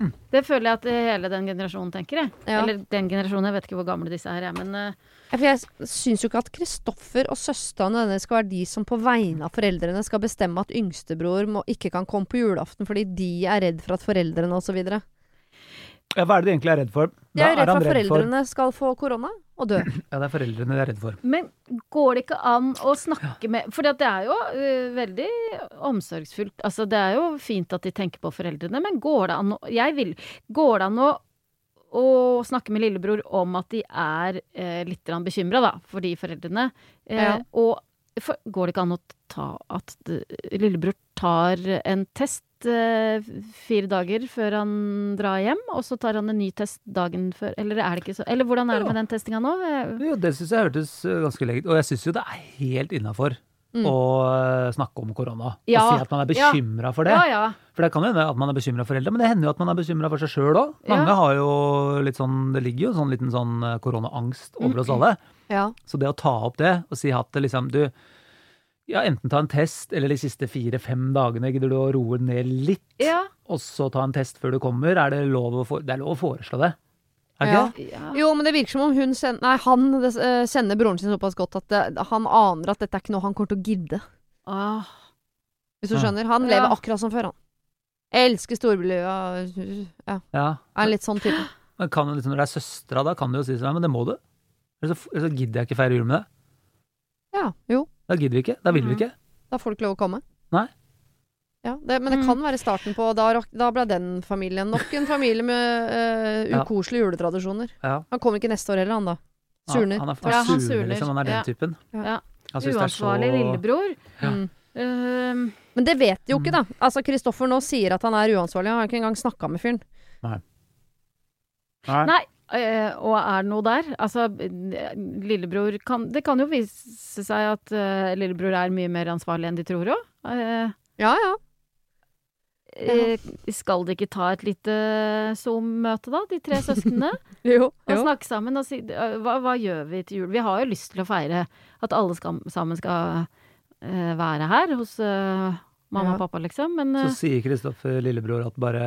Mm. Det føler jeg at eh, hele den generasjonen tenker, jeg. Ja. Eller den generasjonen, jeg vet ikke hvor gamle disse her er, men eh, Ja, For jeg syns jo ikke at Kristoffer og søsteren nødvendigvis skal være de som på vegne av foreldrene skal bestemme at yngstebror må, ikke kan komme på julaften fordi de er redd for at foreldrene osv. De Ja, hva er det de egentlig er redd for? Hva er jo redd han for at foreldrene skal få korona og dø. Ja, det er foreldrene de er redd for. Men går det ikke an å snakke med For det er jo ø, veldig omsorgsfullt. Altså, det er jo fint at de tenker på foreldrene, men går det an å Jeg vil Går det an å å snakke med lillebror om at de er eh, litt bekymra, da, for de foreldrene. Eh, Ja. Og for, går det ikke an å ta at d- lillebror tar en test eh, fire dager før han drar hjem, og så tar han en ny test dagen før? Eller er det ikke så Eller hvordan er det med den testinga nå? Eh, Jo, det syns jeg hørtes eh, ganske legit Og jeg syns jo det er helt innafor å eh, snakke om korona. Mm. Ja. Og si at man er Ja. bekymra for det. Ja, ja. For det kan jo hende at man er bekymra for foreldre, men det hender jo at man er bekymra for seg sjøl òg. Mange Ja. har jo litt sånn Det ligger jo en sånn liten sånn eh, Mm. koronaangst over oss alle. Ja. Så det å ta opp det og si at det liksom eh, Du, Ja, enten ta en test, eller de siste fire-fem dagene gidder du å roe ned litt, Ja. og så ta en test før du kommer. Er det lov å, for... det er lov å foreslå det? Er det Ja. ikke det? ja. Jo, men det virker som om hun send, nei, han det, eh, kjenner broren sin såpass godt at det, han aner at dette er ikke noe han kommer til å gidde. Ah. Hvis du Ja. skjønner. Han Ja. lever akkurat som før, han. Jeg elsker storbylua. Ja, Ja. er en litt sånn type. Men kan, jo liksom, når det er søstera, da kan du jo si sånn, «Nei, men det må du. Ellers så, ellers så gidder jeg ikke feire jul med deg. Ja, jo. Da gidder vi ikke. Da vil vi Mm. Mhm. ikke. Da får du ikke lov å komme. Nei. Ja, det, men det Mm. kan være starten på Da, rak- da ble den familien nok en familie med eh, Ja. ukoselige juletradisjoner. Ja. Han kommer ikke neste år heller, han da. Surner. Han, han, er, han, Ja, han surner, surner. liksom. Han er den Ja. typen. Ja. Han synes det er så- Uansvarlig lillebror. Ja. Mm. Mm. Ehm, Men det vet de jo ikke, da. Altså, Kristoffer nå sier at han er uansvarlig. Han har ikke engang snakka med fyren. Nei. Nei. eh, og er det noe der? Altså, eh, lillebror kan Det kan jo vise seg at eh, lillebror er mye mer ansvarlig enn de tror Eh, òg. Ja, ja. eh, skal de ikke ta et lite eh, Zoom-møte, da, de tre søsknene? Jo. Og snakke sammen og si eh, hva, hva gjør vi til jul? Vi har jo lyst til å feire at alle skal, sammen skal eh, være her hos eh, mamma Ja. og pappa, liksom. Men Så eh, sier Kristoffer lillebror at bare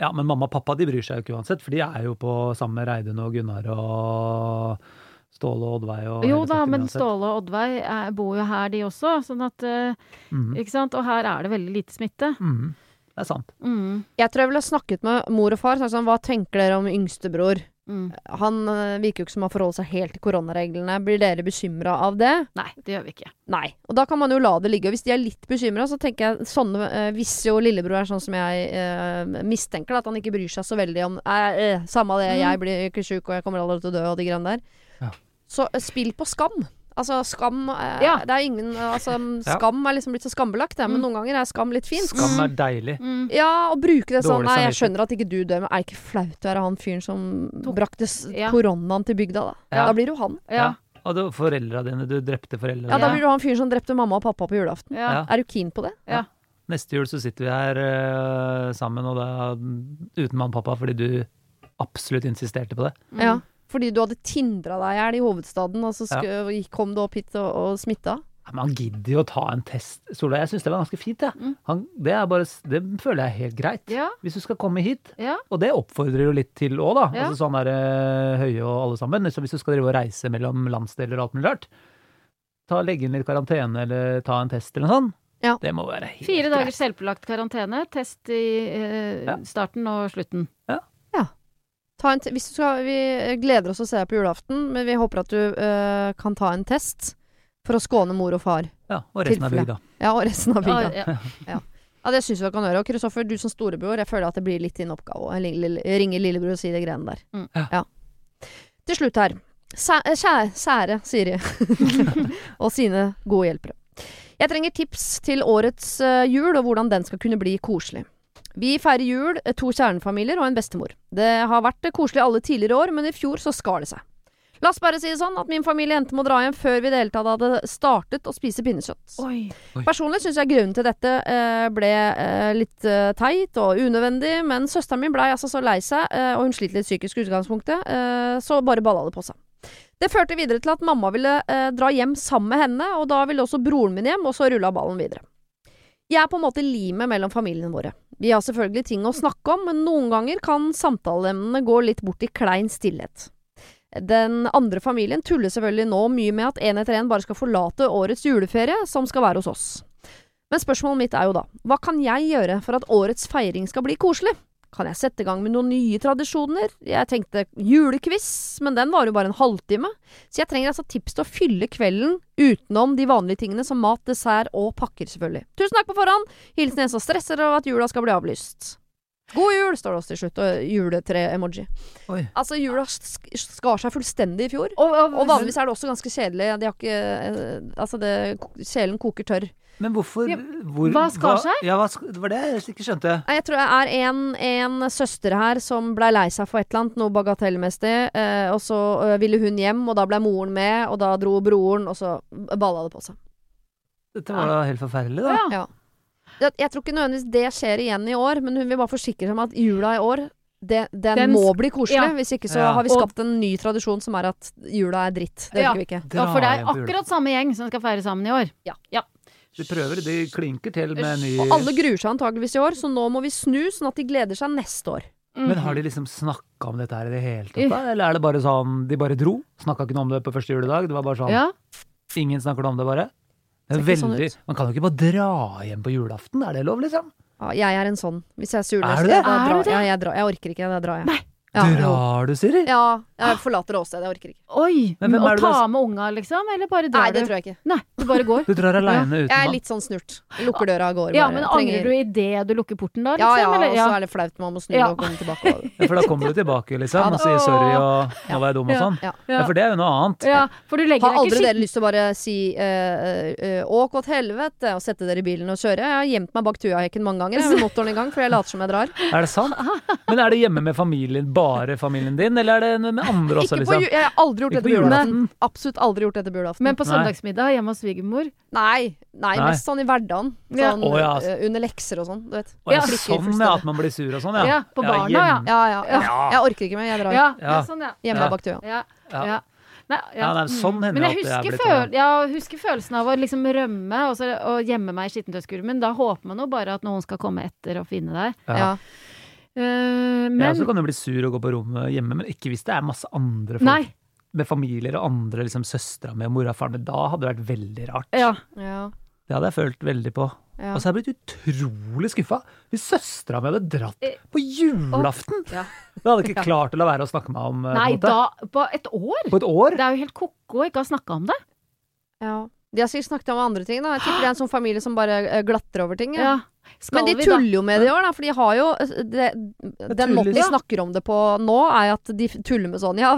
Ja, men mamma og pappa de bryr seg jo ikke uansett, for de er jo på samme med Reidun og Gunnar og Ståle og Oddveig og jo hele da, sekken men uansett. Ståle og Oddveig eh, bor jo her, de også. Sånn at eh, Mhm, Ikke sant? Og her er det veldig lite smitte. mhm. Det er sant. Mm. Jeg tror jeg ville ha snakket med mor og far. Sagt sånn, hva tenker dere om yngstebror? Mm. Han øh, virker jo ikke som han forholder seg helt til koronareglene. Blir dere bekymra av det? Nei, det gjør vi ikke. Nei. Og da kan man jo la det ligge. Og hvis de er litt bekymra, så tenker jeg sånne øh, Hvis jo lillebror er sånn som jeg øh, mistenker, da, at han ikke bryr seg så veldig om eh, eh, Samme det, jeg blir ikke sjuk, og jeg kommer aldri til å dø, og de greiene der. Mm. Ja. Så øh, spill på skam. Altså, skam eh, Ja. Det er ingen Altså, Ja. Mm. skam er liksom blitt så skambelagt, det. Men noen ganger er skam litt fint. Skam Mm. er deilig. Ja, og bruke det sånn. Dårlig Nei, jeg samvittighet. skjønner at ikke du dør, men er det ikke flaut å være han fyren som Tok- brakte s- Ja. koronaen til bygda, da? Ja. Da blir du han. Ja. Og det var foreldra dine, du drepte foreldra Ja, dine. da blir du han fyren som drepte mamma og pappa på julaften. Ja. Ja. Er du keen på det? Neste jul så sitter vi her eh, sammen, og da uten mamma og pappa, fordi du absolutt insisterte på det. Mm. Ja. Fordi du hadde tindra deg i hjel i hovedstaden, og så sku, kom du opp hit og, og smitta? Ja, Men han gidder jo å ta en test. Solveig, jeg syns det var ganske fint, jeg. Mm. Han- Det, er bare s- det føler jeg er helt greit. Ja. Hvis du skal komme hit, Ja. Og det oppfordrer jo litt til òg, da. Ja. Altså sånn er eh, Høie og alle sammen. Så hvis du skal drive og reise mellom landsdeler og alt mulig rart, ta, legge inn litt karantene eller ta en test eller noe sånt. Ja. Det må være helt Fire greit. dagers selvpålagt karantene. Test i eh, Ja. starten og slutten. Ta en te hvis du skal, vi gleder oss å se deg på julaften, men vi håper at du øh, kan ta en test for å skåne mor og far. Ja, og resten av tilfelle. bygda. Ja, og resten av bygda. Ja, ja. Ja, det syns jeg vi kan gjøre. Og Kristoffer, du som storebror, jeg føler at det blir litt din oppgave å li- li- ringe lillebror og si de greiene der. Mm. Ja. Til slutt her. Sæ- eh, kjæ- Sære Siri og sine gode hjelpere. Jeg trenger tips til årets eh, jul og hvordan den skal kunne bli koselig. Vi feirer jul, eh, to kjernefamilier og en bestemor. Det har vært eh, koselig alle tidligere år, men i fjor så skar det seg. La oss bare si det sånn at min familie endte med å dra hjem før vi i det hele tatt hadde startet å spise pinnekjøtt. Oi. Personlig syns jeg grunnen til dette eh, ble eh, litt eh, teit og unødvendig, men søsteren min blei altså så lei seg, eh, og hun sliter litt psykisk i utgangspunktet, eh, så bare balla det på seg. Det førte videre til at mamma ville eh, dra hjem sammen med henne, og da ville også broren min hjem, og så rulla ballen videre. Jeg er på en måte limet mellom familiene våre. Vi har selvfølgelig ting å snakke om, men noen ganger kan samtaleemnene gå litt bort i klein stillhet. Den andre familien tuller selvfølgelig nå mye med at en etter en bare skal forlate årets juleferie, som skal være hos oss. Men spørsmålet mitt er jo da, hva kan jeg gjøre for at årets feiring skal bli koselig? Kan jeg sette i gang med noen nye tradisjoner? Jeg tenkte julequiz, men den varer jo bare en halvtime. Så jeg trenger altså tips til å fylle kvelden utenom de vanlige tingene som mat, dessert og pakker, selvfølgelig. Tusen takk på forhånd! Hilsen en som stresser over at jula skal bli avlyst. God jul, står det også til slutt, og juletre-emoji. Oi. Altså, jula sk- skar seg fullstendig i fjor. Og, og, Og vanligvis er det også ganske kjedelig. De har ikke eh, Altså, det, kjelen koker tørr. Men hvorfor Ja, hvor, hva skar seg? Ja, hva, sk- det var det jeg ikke skjønte. Nei, Jeg tror det er en, en søster her som blei lei seg for et eller annet, noe bagatellmessig. Eh, og så eh, ville hun hjem, og da blei moren med, og da dro broren, og så balla det på seg. Dette var da helt forferdelig, da. Ja. Jeg, jeg tror ikke nødvendigvis det skjer igjen i år, men hun vil bare forsikre seg om at jula i år det, den, Den må sk- bli koselig. ja. Hvis ikke så Ja. har vi Og- skapt en ny tradisjon som er at jula er dritt. Det Ja. orker vi ikke. ja, for det hjem er på jul. akkurat samme gjeng som skal feire sammen i år. Ja. De prøver, de klinker til med ny Og alle gruer seg antageligvis i år, så nå må vi snu, sånn at de gleder seg neste år. Mm. Men har de liksom snakka om dette her i det hele tatt, da? Eller er det bare sånn de bare dro? Snakka ikke noe om det på første juledag? Det var bare sånn Ja. ingen snakker om det, bare? Det Ser er ikke sånn veldig, ut. man kan jo ikke bare dra hjem på julaften, er det lov, liksom? Ja, jeg er en sånn. Hvis jeg er sur Er du det? jeg, da Er drar- du det? Ja, jeg, drar, jeg orker ikke, da drar jeg. Nei. Ja, jo. Drar du, Siri? ja, jeg forlater åstedet. Jeg orker ikke. Oi! Men hvem er å det ta da- med unga, liksom? Eller bare Nei, drar det du? tror jeg ikke. Nei, du bare går. Du drar aleine uten Jeg er mann. litt sånn snurt. Lukker døra og går. Ja, bare. men Trenger- angrer du idet du lukker porten da, Ja, liksom? ja, eller? og så er det flaut. Man må snu Ja. og komme tilbake. og- Ja, for da kommer du tilbake, Ja, liksom, da. og sier sorry og nå var jeg dum og Ja. sånn. Ja. Ja, for det er jo noe annet. Ja, for du legger Har deg aldri ikke dere skikkelig lyst til å bare si eh, eh, åk åt helvete og sette dere i bilen og kjøre? Jeg har gjemt meg bak tujahekken mange ganger. Jeg har motoren i gang, for jeg later som jeg drar. Er det sant? Men er det hjemme med familien, bare familien din, eller er det med andre også, Ikke på, liksom? ju- jeg har aldri gjort Ikke dette på på julaften. julaften. Absolutt aldri gjort dette på julaften. Men på Nei. søndagsmiddag hjemme hos svigermor. Nei, nei, Nei. mest sånn i hverdagen. Sånn, Ja. Å, ja. altså. eh, Under lekser og sånn. Du vet. Å, ja, Klikker sånn fullstendig. ja, at man blir sur og sånn, Ja, ja. på barna, ja. hjem- Ja, ja, ja. Ja. Jeg orker ikke mer, jeg drar. Ja, det Ja. er sånn, ja. Hjemme Ja. bak tuja. Ja, Ja. ja. Nei, Ja, nei, sånn hender Men jeg det at husker, jeg er blitt føl ja, husker følelsen av å liksom rømme og, så, og gjemme meg i skittentøyskurven. Da håper man jo bare at noen skal komme etter og finne deg. Ja. Ja. Eh, Jeg men også kan jo bli sur og gå på rommet hjemme, men ikke hvis det er masse andre folk. Nei. Med familier og andre, liksom søstera mi og mora og faren min. Da hadde det vært veldig rart. Ja. Ja. Det hadde jeg følt veldig på. Ja. Og så har jeg blitt utrolig skuffa hvis søstera mi hadde dratt Eh, på julaften! Ja. Det hadde jeg ikke klart å la være å snakke med om eh, på, Nei, en måte. da På et år? på et år. Det er jo helt ko-ko å ikke ha snakka om det. ja. De har sikkert snakket om andre ting. Da. Jeg tipper det er en sånn familie som bare eh, glatter over ting. Ja. Ja. Skal Men de vi da- tuller jo med det i år, da, for de har jo eh, det, Den måten de tulles. snakker om det på nå, er at de f- tuller med sånn Ja,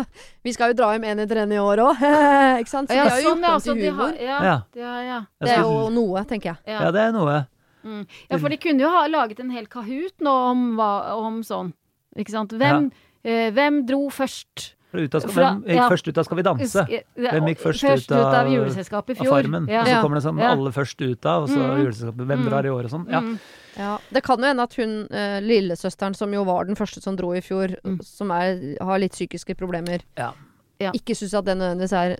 vi skal jo dra hjem en etter en i år òg, ikke sant? Så ja, de har jo gjort sånn, ja, om altså, til de har, humor. ja, Ja. ja, ja. Jeg Det er skulle- jo noe, tenker jeg. Ja. ja, det er noe. Mm. ja, for de kunne jo ha laget en hel Kahoot nå om, hva, om sånn. Ikke sant? Hvem, eh, hvem dro først? Fra ut av skal, Fra- hvem gikk ja. først ut av Skal vi danse? Husker- ja, Hvem gikk først ut ut av- av juleselskapet i Av fjor? Farmen. Ja. Og så Ja. kommer det sånn Ja. alle først ut av, og så Mm. juleselskapet. Hvem drar i år og sånn. Ja. Mm. Ja, Det kan jo hende at hun eh, lillesøsteren som jo var den første som dro i fjor, Mm. som er, har litt psykiske problemer, Ja. Ja. ikke syns at det nødvendigvis er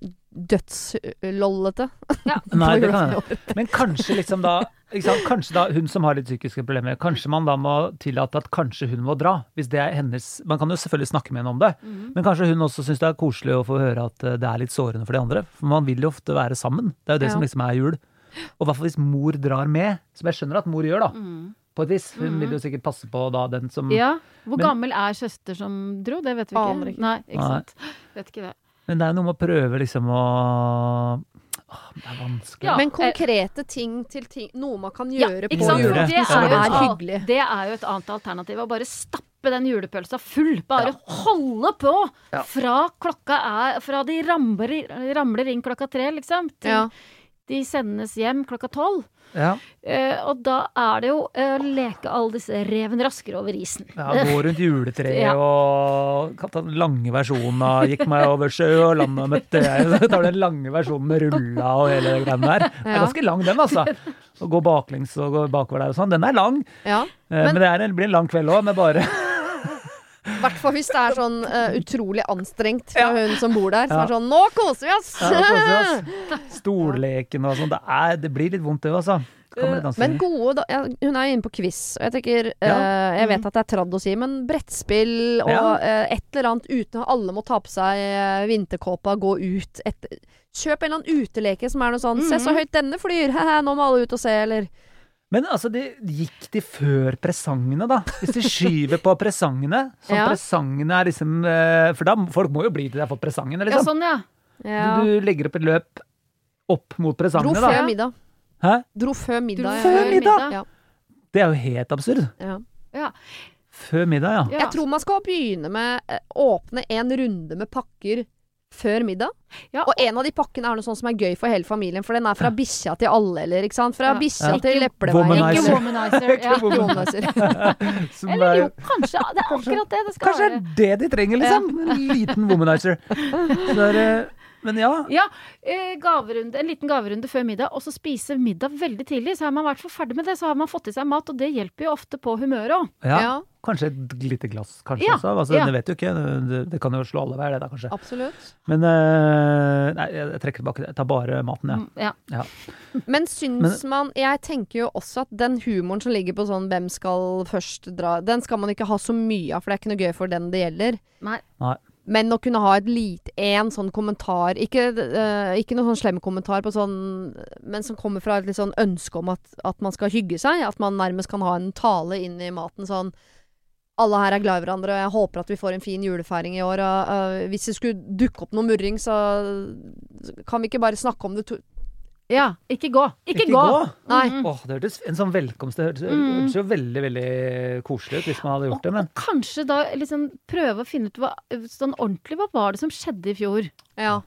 dødslollete. Nei, på det kan julaften i år. hende. Men kanskje liksom da ikke sant? Kanskje da hun som har litt psykiske problemer, kanskje man da må tillate at kanskje hun må dra. Hvis det er hennes Man kan jo selvfølgelig snakke med henne om det, men kanskje hun også syns det er koselig å få høre at eh, det er litt sårende for de andre. For man vil jo ofte være sammen. Det er jo det Ja. som liksom er jul. Og i hvert fall hvis mor drar med, som jeg skjønner at mor gjør, da. På et vis. Hun vil jo sikkert passe på da den som ja. Hvor Men- gammel er søster som dro? Det vet vi ikke. Aner ikke. Nei, ikke Nei. sant. Vet ikke det. Men det er noe med å prøve liksom å Åh, Det er vanskelig. Ja. Eh, Men konkrete ting til ting Noe man kan Ja, gjøre ikke på sant? For jule, julaften det som er, jo er et al- hyggelig. det er jo et annet alternativ. Å bare stappe den julepølsa full. Bare holde på! Fra klokka er Fra de ramler, ramler inn klokka tre, liksom, til Ja. de sendes hjem klokka tolv. Ja. Eh, og da er det jo eh, å leke alle disse reven raskere over isen. Ja, gå rundt juletreet Ja. og kan ta den lange versjonen av 'Gikk meg over sjø og landet møtte jeg'. Så tar du den lange versjonen med rulla og hele det greiene der. Den er Ja. ganske lang, den, altså. Å gå baklengs og gå bakover der og sånn. Den er lang. Ja. Eh, Men, Men- det er en, blir en lang kveld òg, med bare I hvert fall hvis det er sånn eh, utrolig anstrengt fra hun som bor der. Som er sånn 'Nå koser vi oss!' ja, det koser vi oss. Stolleken og sånn. Det, er- det blir litt vondt, det òg, altså. Kommer Eh, litt Men anstrengende. gode da, jeg, Hun er inne på quiz, og jeg tenker Ja. eh, Jeg vet at det er tradd å si, men brettspill og Ja. eh, et eller annet uten at alle må ta på seg eh, vinterkåpa, gå ut et, Kjøp en eller annen uteleke som er noe sånn 'Se så høyt denne flyr', he-he, nå må alle ut og se, eller Men altså, de, gikk de før presangene, da? Hvis de skyver på presangene, så Ja. presangene er liksom eh, For da, folk må jo bli til de har fått presangene, Ja, liksom. sånn, ja. ja. Du, du legger opp et løp opp mot Dro presangene, før da. middag. Hæ? Dro før middag. Dro ja. før middag? Ja. Det er jo helt absurd. Ja. Før middag, ja. Ja. Jeg tror man skal begynne med eh, åpne en runde med pakker før middag. Ja, og en av de pakkene er noe sånt som er gøy for hele familien, for den er fra bikkja til alle, eller ikke sant? Fra Ja. bikkja Ja. til Ikke eplemeier. womanizer. Ikke womanizer. Ikke Ja. womanizer. Som Eller er- jo, kanskje. Det er akkurat det det skal Kanskje det er det de trenger, liksom. En liten womanizer. Så er det Men ja, Ja, eh, gaverunde, en liten gaverunde før middag, og så spise middag veldig tidlig. Så er man i hvert fall ferdig med det, så har man fått i seg mat, og det hjelper jo ofte på humøret òg. ja. Ja, Kanskje et lite glass, kanskje Ja, også. Altså, ja. Det vet du ikke. Det, det kan jo slå alle veier, det da, kanskje. absolutt. Men eh, nei, jeg trekker tilbake det. Jeg tar bare maten, jeg. Mm, Ja. Men syns man Jeg tenker jo også at den humoren som ligger på sånn 'hvem skal først dra', den skal man ikke ha så mye av, for det er ikke noe gøy for den det gjelder. Nei. Nei. Men å kunne ha et lite én sånn kommentar Ikke, eh, ikke noen sånn slem kommentar, på sånn, men som kommer fra et litt sånn ønske om at, at man skal hygge seg. At man nærmest kan ha en tale inn i maten sånn alle her er glad i hverandre, og jeg håper at vi får en fin julefeiring i år. Og, eh, hvis det skulle dukke opp noe murring, så kan vi ikke bare snakke om det to Ja, ikke gå. Ikke, gå! Nei. Mm. Åh, det hørtes en sånn velkomst Det hørtes, det hørtes jo veldig veldig koselig ut hvis man hadde Og, gjort det, men og kanskje da liksom prøve å finne ut hva, sånn ordentlig hva var det som skjedde i fjor. Ja.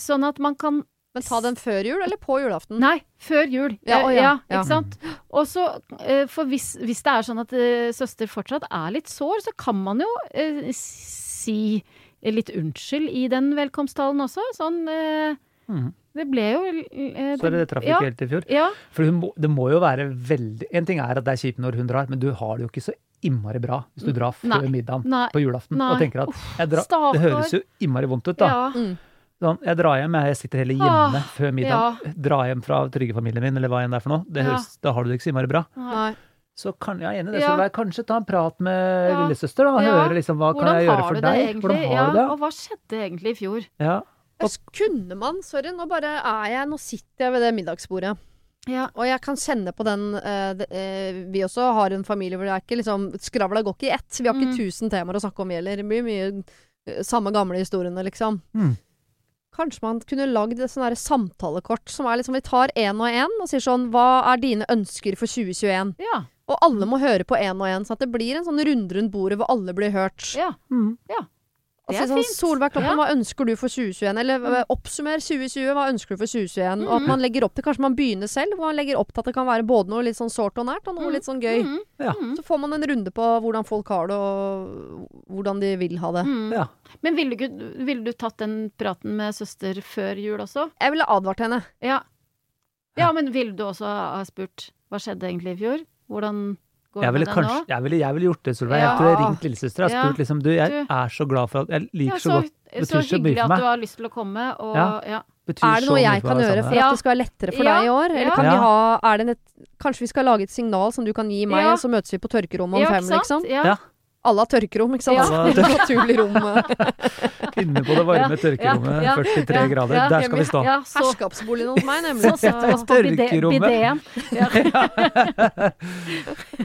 Sånn at man kan Men ta den før jul eller på julaften? Nei, før jul. Ja, å ja, ja. ikke sant? Og så, eh, for hvis, hvis det er sånn at eh, søster fortsatt er litt sår, så kan man jo eh, si litt unnskyld i den velkomsttalen også. Sånn eh, Mhm. Det ble jo eh, så det traff ja, ikke helt i fjor. Ja. For hun må, det må jo være veldig En ting er at det er kjipt når hun drar, men du har det jo ikke så innmari bra hvis du drar før Nei. middagen Nei. på julaften Nei. og tenker at jeg drar, stakkar. Det høres jo innmari vondt ut, da. ja. Sånn, jeg drar hjem, jeg sitter heller hjemme før middag. Dra hjem fra tryggefamilien min, eller hva enn det er for noe. Det Ja. høres, Da har du det ikke så innmari bra. Nei. Så kan jeg er enig i det, Ja. Solveig. Kanskje ta en prat med Ja. lillesøster, da. og Ja. Høre liksom hva Hvordan kan jeg har gjøre du for det deg? egentlig? Hvordan Ja, har du og hva skjedde egentlig i fjor? det? Ja. Jeg kunne man, sorry, nå bare er jeg Nå sitter jeg ved det middagsbordet. Ja. Og jeg kan kjenne på den eh, det, eh, Vi også har en familie hvor det er ikke liksom Skravla går ikke i ett. Vi har ikke Mm. tusen temaer å snakke om heller. Det blir mye eh, samme gamle historiene, liksom. Mm. Kanskje man kunne lagd et sånn derre samtalekort som er liksom Vi tar én og én og sier sånn Hva er dine ønsker for 2021? Ja. Og alle må høre på én og én, sånn at det blir en sånn runde rundt bordet hvor alle blir hørt. ja. Mm. Og Det si er sånn, fint. Solveig Kloppen, Ja. Mm. hva ønsker du for 2021? Eller eh, oppsummer 2020, hva ønsker du for 2021? Og at man legger opp til, kanskje man begynner selv, hvor man legger opp til at det kan være både noe litt sånn sårt og nært, og noe Mm. litt sånn gøy. Mhm. Så får man en runde på hvordan folk har det, og hvordan de vil ha det. Mm. Ja. Men ville du, ville du tatt den praten med søster før jul også? Jeg ville advart henne. Ja. Ja, men ville du også ha spurt hva skjedde egentlig i fjor? Hvordan går det Jeg ville, med deg kanskje, jeg, ville, jeg ville gjort det, Solveig. Jeg Ja. tror jeg ringt lillesøster og Ja. spurt liksom Du, jeg Du- er så glad for at Jeg nå? Ja, liker så, så, godt så, betyr så mye hyggelig for at meg. du har lyst til å komme, og ja. Ja. Betyr Er det så noe mye jeg for kan meg å være gjøre sammen for med Ja. at det skal være lettere for Ja. deg i år? Eller Ja. kan vi Ja. ha, er det en et, kanskje vi skal lage et signal som du kan gi meg, Ja. og så møtes vi på tørkerommet om Ja, fem, liksom? Ja. Ja. Alle har tørkerom, ikke sant? Ja. Alle har naturlig rom. eh, deg. Inne på det varme tørkerommet, ja, 43 grader. ja, Der skal vi stå. Ja, så, Herskapsboligen hos meg, nemlig. så setter vi oss på bide- Tørkerommet. bideen.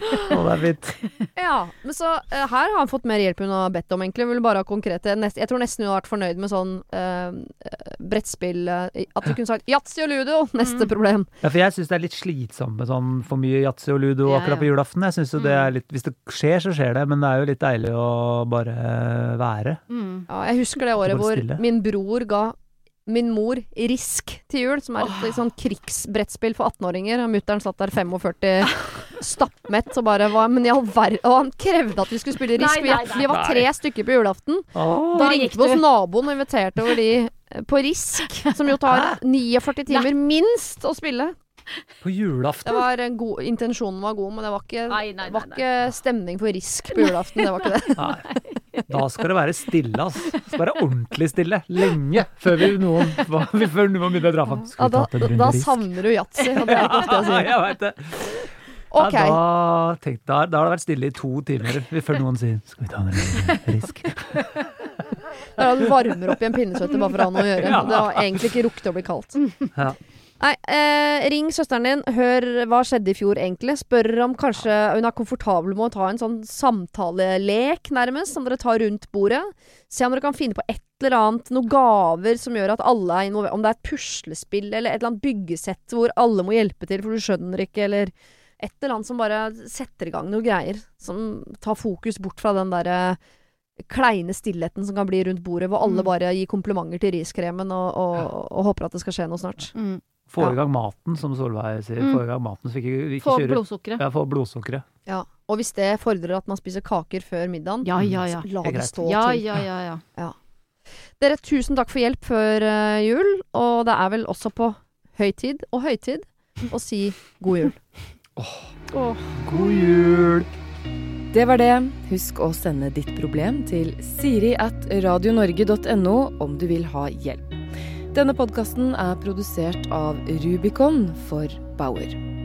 Å, det er fint. Ja, men så eh, her har han fått mer hjelp hun har bedt om, egentlig. Hun Vil bare ha konkrete nest, Jeg tror nesten hun har vært fornøyd med sånn eh, eh, brettspill eh, At hun kunne sagt yatzy og ludo! Neste Mm. problem. Ja, for jeg syns det er litt slitsomt med sånn for mye yatzy og ludo Ja, akkurat på julaften. Jeg synes jo det Mm. er litt, Hvis det skjer, så skjer det, men det er jo litt deilig å bare være. Mm. Ja, jeg husker det året Bare hvor stille. min bror ga min mor Risk til jul, som er et litt sånn krigsbrettspill for 18-åringer. Og mutter'n satt der 45 stappmett og bare hva, Men i all verden Og han krevde at vi skulle spille Risk. Nei, Vi- nei, nei. vi var tre stykker på julaften. Åh, Da Da ringte gikk vi hos du. naboen og inviterte over de eh, på Risk, som jo Ah. tar 49 timer minst å spille. på julaften? Det var en god, intensjonen var god, men det var ikke, Nei, nei, nei, var nei. ikke stemning for Risk på julaften. Det var ikke det. Nei. Da skal det være stille, ass. Det skal være ordentlig stille. Lenge før vi noen hva- før noen begynner å dra fram. Ja, Skal vi da, ta til da en runde risk? savner du yatzy, og det er ikke ofte jeg Ja, sier. jeg vet det. OK. Ja, da, tenkte, da, da har det vært stille i to timer før noen sier 'skal vi ta en runde risk'? Det er at du varmer opp i en pinnesvette bare for å ha noe å gjøre. Det har egentlig ikke rukket å bli kaldt. Mm. Ja. Nei, eh, ring søsteren din, hør hva skjedde i fjor egentlig. Spør om kanskje hun er komfortabel med å ta en sånn samtalelek, nærmest, som dere tar rundt bordet. Se om dere kan finne på et eller annet, noen gaver som gjør at alle er involvert. Om det er et puslespill eller et eller annet byggesett hvor alle må hjelpe til, for du skjønner ikke, eller et eller annet som bare setter i gang noen greier. Som tar fokus bort fra den derre kleine stillheten som kan bli rundt bordet, hvor alle Mm. bare gir komplimenter til riskremen og, og, og håper at det skal skje noe snart. Mm. Få i gang maten, som Solveig sier. Mm. Få i gang maten, så vi ikke, vi ikke Få kjører blodsukkeret. ja, Få blodsukkeret. Ja. Og hvis det fordrer at man spiser kaker før middagen, Ja, ja, ja. la Det er det greit. stå Ja, til. ja, ja, ja. Dere, tusen takk for hjelp før eh, jul, og det er vel også på høytid og høytid å si god jul. God jul! Det var det. Husk å sende ditt problem til siri at radionorge.no om du vil ha hjelp. Denne podkasten er produsert av Rubicon for Bauer.